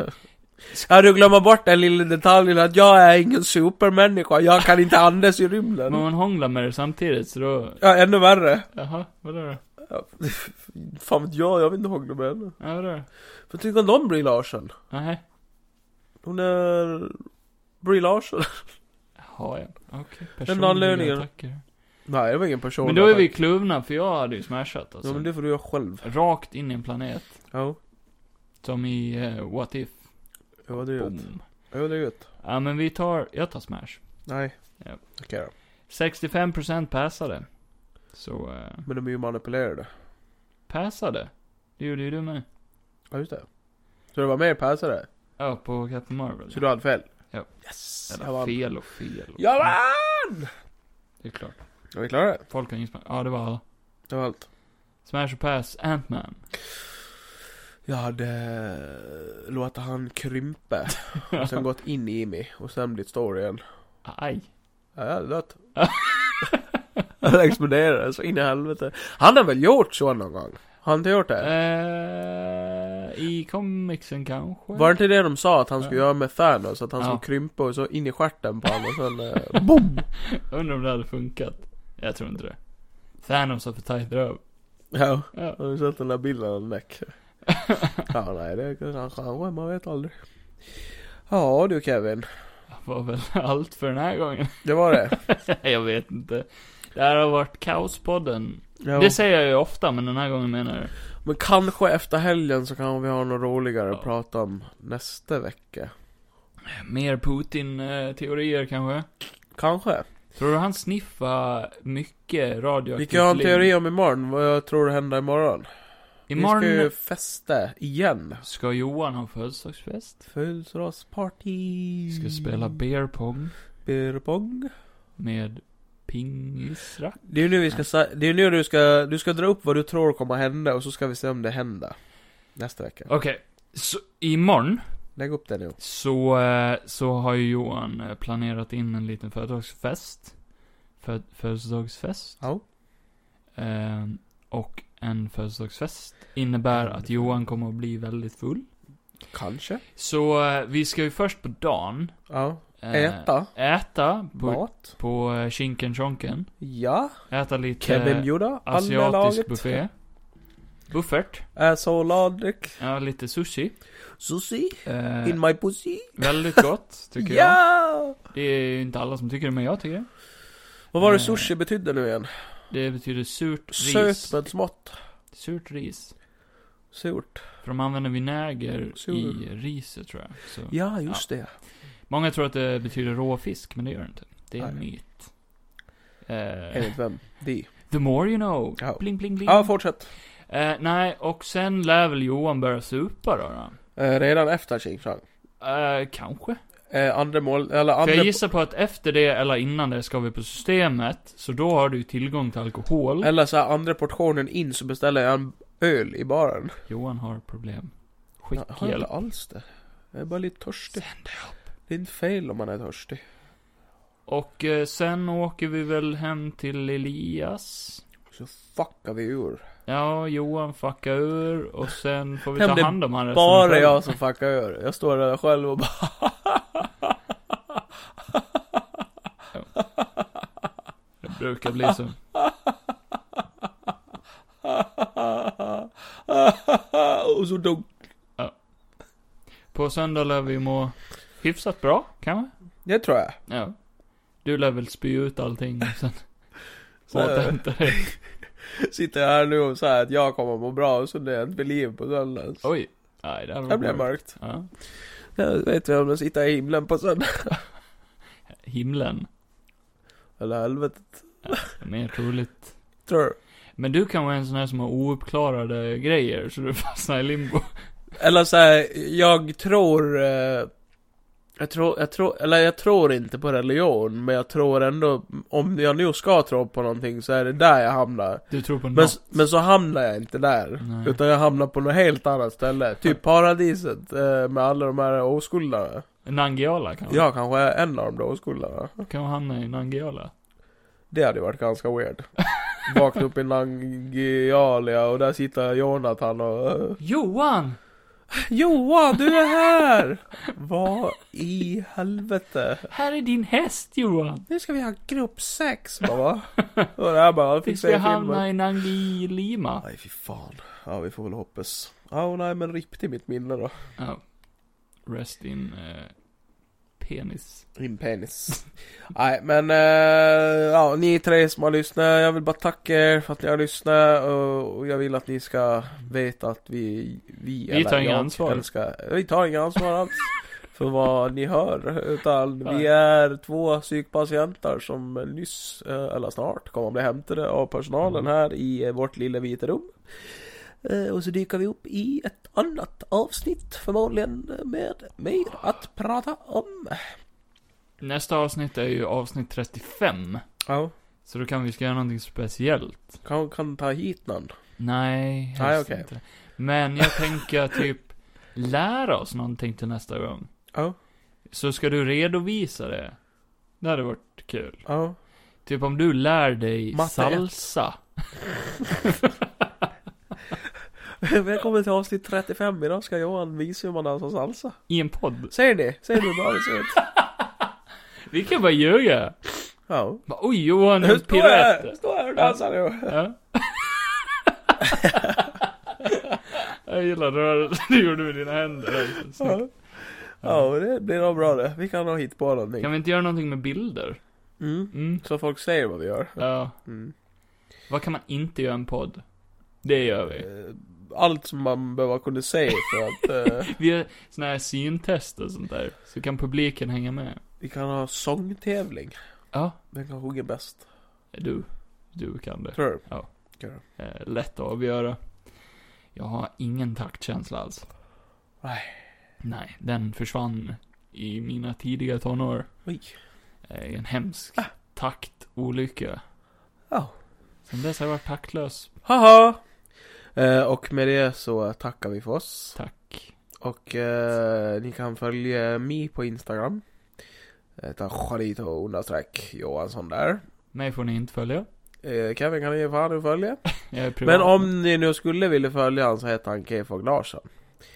Speaker 3: Ja, du glömmer bort den lilla detaljen att jag är ingen supermänniska, jag kan inte andas i
Speaker 4: Men
Speaker 3: rymden.
Speaker 4: hon hånglar med det samtidigt, så då...
Speaker 3: Ja, ännu värre.
Speaker 4: Jaha, vadå då?
Speaker 3: Ja, Fan vet jag, jag vill inte hångla med henne.
Speaker 4: Ja, vadå då?
Speaker 3: Vad tycker du om Brie Larson?
Speaker 4: Nej.
Speaker 3: Hon är... Brie Larson?
Speaker 4: Har jag? Okej,
Speaker 3: Den anledningen.
Speaker 4: attacker.
Speaker 3: Nej, det var ingen person.
Speaker 4: Men då är vi kluvna, för jag hade ju smashat alltså.
Speaker 3: Ja, men det får du göra själv.
Speaker 4: Rakt in i en planet.
Speaker 3: Ja.
Speaker 4: Som i eh, What If.
Speaker 3: Ja, det är gött.
Speaker 4: Boom.
Speaker 3: Ja, det är gött.
Speaker 4: Ja, men vi tar, jag tar smash.
Speaker 3: Nej.
Speaker 4: Ja.
Speaker 3: Okej då.
Speaker 4: 65% passade. Så, eh,
Speaker 3: Men de är ju manipulerade.
Speaker 4: passade? Det gjorde ju du med.
Speaker 3: Ja, just det. Så det var mer passare?
Speaker 4: Ja, på Captain Marvel.
Speaker 3: Så du hade fel?
Speaker 4: Ja.
Speaker 3: Yes! Jag
Speaker 4: Eller
Speaker 3: vann.
Speaker 4: fel och fel. Och
Speaker 3: Jag vann!
Speaker 4: Det är klart.
Speaker 3: Ja, vi klarade det.
Speaker 4: Folk kan ju smash. Ja, det var alla.
Speaker 3: Det var allt.
Speaker 4: Smash och pass, Ant-Man.
Speaker 3: Jag hade eh, låtit han krympa. Och sen gått in i mig. Och sen blivit stor igen.
Speaker 4: Aj.
Speaker 3: Ja, jag hade dött. Han exploderade så in i helvete. Han har väl gjort så någon gång? Har han inte gjort det?
Speaker 4: Eh, I comicsen kanske?
Speaker 3: Var det inte det de sa att han skulle
Speaker 4: Ja.
Speaker 3: göra med Thanos? Att han
Speaker 4: Ja.
Speaker 3: skulle krympa och så in i stjärten på honom och sen... Eh, boom!
Speaker 4: Undrar om det hade funkat. Jag tror inte det. Thanos har för tajt röv.
Speaker 3: Ja.
Speaker 4: Ja.
Speaker 3: Har du sett den där bilden av Mac? ja, nej, det kanske han man vet aldrig. Ja du Kevin,
Speaker 4: var väl allt för den här gången.
Speaker 3: det var det.
Speaker 4: jag vet inte. Det här har varit Kaospodden.
Speaker 3: Ja.
Speaker 4: Det säger jag ju ofta, men den här gången menar jag det.
Speaker 3: Men kanske efter helgen så kan vi ha något roligare att
Speaker 4: Ja.
Speaker 3: prata om nästa vecka.
Speaker 4: Mer Putin-teorier kanske?
Speaker 3: Kanske.
Speaker 4: Tror du han sniffar mycket radioaktivt
Speaker 3: Vi kan ha en
Speaker 4: lim?
Speaker 3: teori om imorgon, vad jag tror händer imorgon.
Speaker 4: Imorgon
Speaker 3: Vi ska
Speaker 4: ska,
Speaker 3: ju festa igen.
Speaker 4: Johan ha födelsedagsfest.
Speaker 3: Födelsedagsparty.
Speaker 4: Vi ska spela beer pong
Speaker 3: beer pong.
Speaker 4: med pingisrack.
Speaker 3: Det är ju nu vi ska, sa- det är ju nu du ska, du ska dra upp vad du tror kommer hända och så ska vi se om det händer. Nästa vecka.
Speaker 4: Okej, så imorgon
Speaker 3: Lägg upp det nu.
Speaker 4: Så, eh, så har ju Johan eh, planerat in en liten födelsedagsfest. Fö- födelsedagsfest.
Speaker 3: Ja.
Speaker 4: Eh, och en födelsedagsfest innebär att Johan kommer att bli väldigt full.
Speaker 3: Kanske.
Speaker 4: Så eh, vi ska ju först på dagen.
Speaker 3: Ja.
Speaker 4: eh,
Speaker 3: Äta.
Speaker 4: Äta på,
Speaker 3: Mat.
Speaker 4: på eh, Shinken Chonken.
Speaker 3: Ja.
Speaker 4: Äta lite eh,
Speaker 3: Kevin bjuda. Alla
Speaker 4: asiatisk
Speaker 3: laget.
Speaker 4: buffé. Buffert.
Speaker 3: Äh, Salladdryck.
Speaker 4: Ja, lite sushi.
Speaker 3: Sushi.
Speaker 4: Eh,
Speaker 3: In my pussy.
Speaker 4: väldigt gott, tycker jag.
Speaker 3: Ja!
Speaker 4: Det är ju inte alla som tycker det, men jag tycker det.
Speaker 3: Vad var det
Speaker 4: Eh,
Speaker 3: sushi betydde nu igen?
Speaker 4: Det betyder surt ris.
Speaker 3: Sött men smått.
Speaker 4: Surt ris.
Speaker 3: Surt.
Speaker 4: För de använder vinäger
Speaker 3: Sur.
Speaker 4: i riset tror jag. Så.
Speaker 3: Ja, just det.
Speaker 4: Många tror att det betyder råfisk, men det gör det inte. Det är en
Speaker 3: Nej.
Speaker 4: myt. Eh,
Speaker 3: Enligt vem? Vi.
Speaker 4: the more you know.
Speaker 3: Ja.
Speaker 4: Bling, bling, bling.
Speaker 3: Ja, fortsätt.
Speaker 4: eh, nej, och sen lär väl Johan börja supa då. då.
Speaker 3: Eh, redan efter Ching Chang.
Speaker 4: Eh, kanske.
Speaker 3: Eh, andra mål, eller
Speaker 4: För
Speaker 3: andra...
Speaker 4: jag gissar på att efter det eller innan det ska vi på systemet, så då har du ju tillgång till alkohol.
Speaker 3: Eller så här, andra portionen in så beställer jag en öl i baren.
Speaker 4: Johan har problem.
Speaker 3: Jag har inte
Speaker 4: Skickhjälp.
Speaker 3: alls det. Jag är bara lite törstig. Det är inte fel om man är törstig.
Speaker 4: Och eh, sen åker vi väl hem till Elias.
Speaker 3: Så fuckar vi ur.
Speaker 4: Ja, Johan fuckar ur och sen får vi
Speaker 3: Men
Speaker 4: ta
Speaker 3: det är
Speaker 4: hand om han resten av
Speaker 3: Bara
Speaker 4: kvällen.
Speaker 3: jag som fuckar ur. Jag står där själv och bara...
Speaker 4: Det brukar bli så.
Speaker 3: och så dog.
Speaker 4: På söndag lär vi må hyfsat bra, kan
Speaker 3: Det tror jag.
Speaker 4: vi? Ja. Du lär väl spy ut allting och sen
Speaker 3: Så är det.
Speaker 4: återhämta dig.
Speaker 3: Sitter jag här nu och säger att jag kommer må bra och så dör jag inte vid liv på söndagen.
Speaker 4: Oj. Nej, det här var
Speaker 3: Det blir mörkt.
Speaker 4: Ja.
Speaker 3: Jag vet vem som sitter i himlen på söndag.
Speaker 4: Himlen.
Speaker 3: Eller helvetet.
Speaker 4: Mer troligt.
Speaker 3: Tror du?
Speaker 4: Men du kan vara en sån här som har ouppklarade grejer, så du fastnar i limbo.
Speaker 3: Eller så här, jag tror... eh, Jag tror, jag tror, eller jag tror inte på religion, men jag tror ändå, om jag nu ska tro på någonting så är det där jag hamnar.
Speaker 4: Du tror på
Speaker 3: Men,
Speaker 4: något.
Speaker 3: men så hamnar jag inte där.
Speaker 4: Nej.
Speaker 3: Utan jag hamnar på något helt annat ställe. Typ paradiset eh, med alla de här oskuldarna.
Speaker 4: Nangiala kan
Speaker 3: Jag kanske är en av de där oskuldarna.
Speaker 4: Kan man hamna i Nangiala?
Speaker 3: Det hade ju varit ganska weird. Vakna upp i Nangialia och där sitter Jonathan och... eh,
Speaker 4: Johan!
Speaker 3: Johan, du är här! Vad i helvete?
Speaker 4: Här är din häst Johan!
Speaker 3: Nu ska vi ha gruppsex, mamma. Och det här bara,
Speaker 4: Vi
Speaker 3: fick
Speaker 4: ska
Speaker 3: se
Speaker 4: hamna
Speaker 3: filmen.
Speaker 4: i Nangilima.
Speaker 3: Nej, fy fan. Ja, vi får väl hoppas. Ja, oh, nej, men ripp till mitt minne då.
Speaker 4: Ja. Rest in eh, penis.
Speaker 3: Din penis. Nej, men eh, ja, ni tre som har lyssnat, jag vill bara tacka er för att ni har lyssnat och, och jag vill att ni ska veta att vi, vi,
Speaker 4: Vi tar inga
Speaker 3: jag
Speaker 4: ansvar.
Speaker 3: älskar- vi tar inga ansvar alls för vad ni hör, utan
Speaker 4: Nej.
Speaker 3: vi är två psykpatienter som nyss, eh, eller snart, kommer att bli hämtade av personalen
Speaker 4: Mm.
Speaker 3: här i eh, vårt lilla vita rum. Eh, Och så dyker vi upp i ett annat avsnitt, förmodligen med mer att prata om.
Speaker 4: Nästa avsnitt är ju avsnitt 35.
Speaker 3: Ja.
Speaker 4: Så då kan vi ska göra någonting speciellt.
Speaker 3: Kan, kan ta hit någon.
Speaker 4: Nej, helst
Speaker 3: Nej, okej.
Speaker 4: inte. Men jag tänker typ lära oss någonting till nästa gång.
Speaker 3: Ja.
Speaker 4: Så ska du redovisa det. Det hade varit kul.
Speaker 3: Ja.
Speaker 4: Typ om du lär dig
Speaker 3: Matte
Speaker 4: salsa.
Speaker 3: Välkommen till avsnitt 35. Idag ska Johan visa hur man dansar salsa.
Speaker 4: I en podd.
Speaker 3: Ser ni? Ser ni hur bra det ser ut?
Speaker 4: Vi kan bara ljuga.
Speaker 3: Ja.
Speaker 4: Bara, Oj, Johan,
Speaker 3: Nu
Speaker 4: en
Speaker 3: står jag här!
Speaker 4: pirat.
Speaker 3: Står jag här och dansar nu.
Speaker 4: Ja. jag gillar rörelsen du gjorde med dina händer.
Speaker 3: Ja. Ja, och det blir nog bra det. Vi kan nog hitta på någonting.
Speaker 4: Kan vi inte göra någonting med bilder?
Speaker 3: Mm.
Speaker 4: Mm.
Speaker 3: Så folk ser vad vi gör.
Speaker 4: Ja.
Speaker 3: Mm.
Speaker 4: Vad kan man inte göra i en podd? Det gör vi.
Speaker 3: Eh, Allt som man behöver kunna se för att eh,
Speaker 4: Vi gör såna här syntest och sånt där. Så kan publiken hänga med.
Speaker 3: vi kan ha sångtävling.
Speaker 4: Ja,
Speaker 3: Vem kan sjunga bäst?
Speaker 4: du. Du kan det.
Speaker 3: Tror du?
Speaker 4: Ja.
Speaker 3: Kan du?
Speaker 4: Eh, lätt att avgöra. Jag har ingen taktkänsla alls.
Speaker 3: Nej.
Speaker 4: Nej, den försvann i mina tidiga tonår.
Speaker 3: Oj.
Speaker 4: Eh, en hemsk
Speaker 3: Ah.
Speaker 4: taktolycka.
Speaker 3: Ja.
Speaker 4: Sen dess har jag varit taktlös.
Speaker 3: Haha! Eh, och med det så tackar vi för oss.
Speaker 4: Tack.
Speaker 3: Och eh, ni kan följa mig på Instagram. Jag heter Charito understreck Johansson där.
Speaker 4: Mig får ni inte följa.
Speaker 3: Eh, Kevin kan ni ge fan och följa.
Speaker 4: Jag är privat.
Speaker 3: Men om ni nu skulle vilja följa han så heter han KFOG Larsson.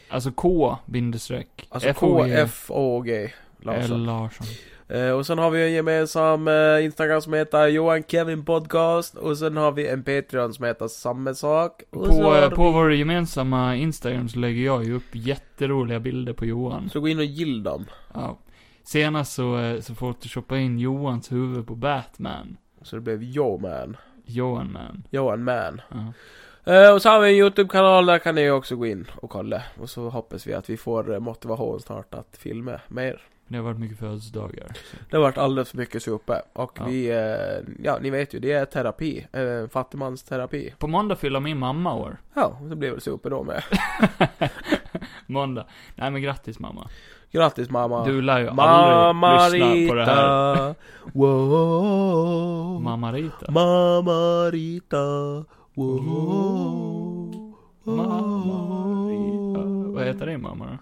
Speaker 4: Alltså K, bindestreck.
Speaker 3: Alltså
Speaker 4: F-O-E,
Speaker 3: K-F-O-G
Speaker 4: L.
Speaker 3: Larsson.
Speaker 4: Larsson.
Speaker 3: Eh, och sen har vi en gemensam eh, Instagram som heter Johan Kevin Podcast. Och sen har vi en Patreon som heter samma sak. Och så,
Speaker 4: På, eh,
Speaker 3: har
Speaker 4: på vår gemensamma Instagram så lägger jag ju upp jätteroliga bilder på Johan.
Speaker 3: vi- så gå in och gilla dem.
Speaker 4: Ja. Senast så, eh, så photoshoppade jag in Johans huvud på Batman.
Speaker 3: Så det blev Johan.
Speaker 4: Johan man.
Speaker 3: Johan Man.
Speaker 4: Ja.
Speaker 3: Eh, och så har vi en YouTube-kanal, där kan ni också gå in och kolla. Och så hoppas vi att vi får eh, motivation snart att filma mer.
Speaker 4: Det har varit mycket födelsedagar.
Speaker 3: Det har varit alldeles för mycket supe. Och
Speaker 4: Ja.
Speaker 3: vi, eh, ja ni vet ju, det är terapi. Eh, fattigmansterapi.
Speaker 4: På måndag fyller min mamma år.
Speaker 3: Ja, och så blir det supe då med.
Speaker 4: måndag. Nej men grattis mamma.
Speaker 3: Grattis mamma.
Speaker 4: Du lär ju
Speaker 3: mamma
Speaker 4: aldrig lyssna
Speaker 3: Rita.
Speaker 4: på det här.
Speaker 3: Wow.
Speaker 4: Mamma Rita.
Speaker 3: Mamma Rita.
Speaker 4: Mm.
Speaker 3: Wow.
Speaker 4: mamma Rita. Vad heter din mamma då?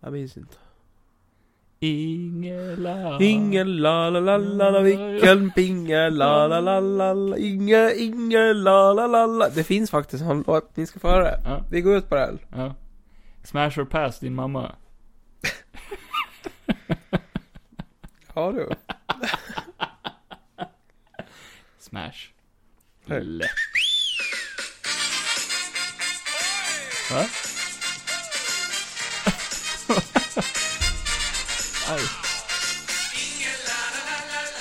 Speaker 3: Jag minns inte.
Speaker 4: Ingela.
Speaker 3: Ingen la la la la la vilken pinge la la la la la Inge, inge la la la la Det finns faktiskt en låt, ni ska få höra det.
Speaker 4: Ja,
Speaker 3: Vi går ut på den.
Speaker 4: ja. Smash or pass din mamma.
Speaker 3: Ja du.
Speaker 4: Smash.
Speaker 3: Hej.
Speaker 4: Lätt. Va? Aj.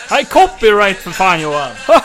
Speaker 4: Aj, copyright för fan Johan!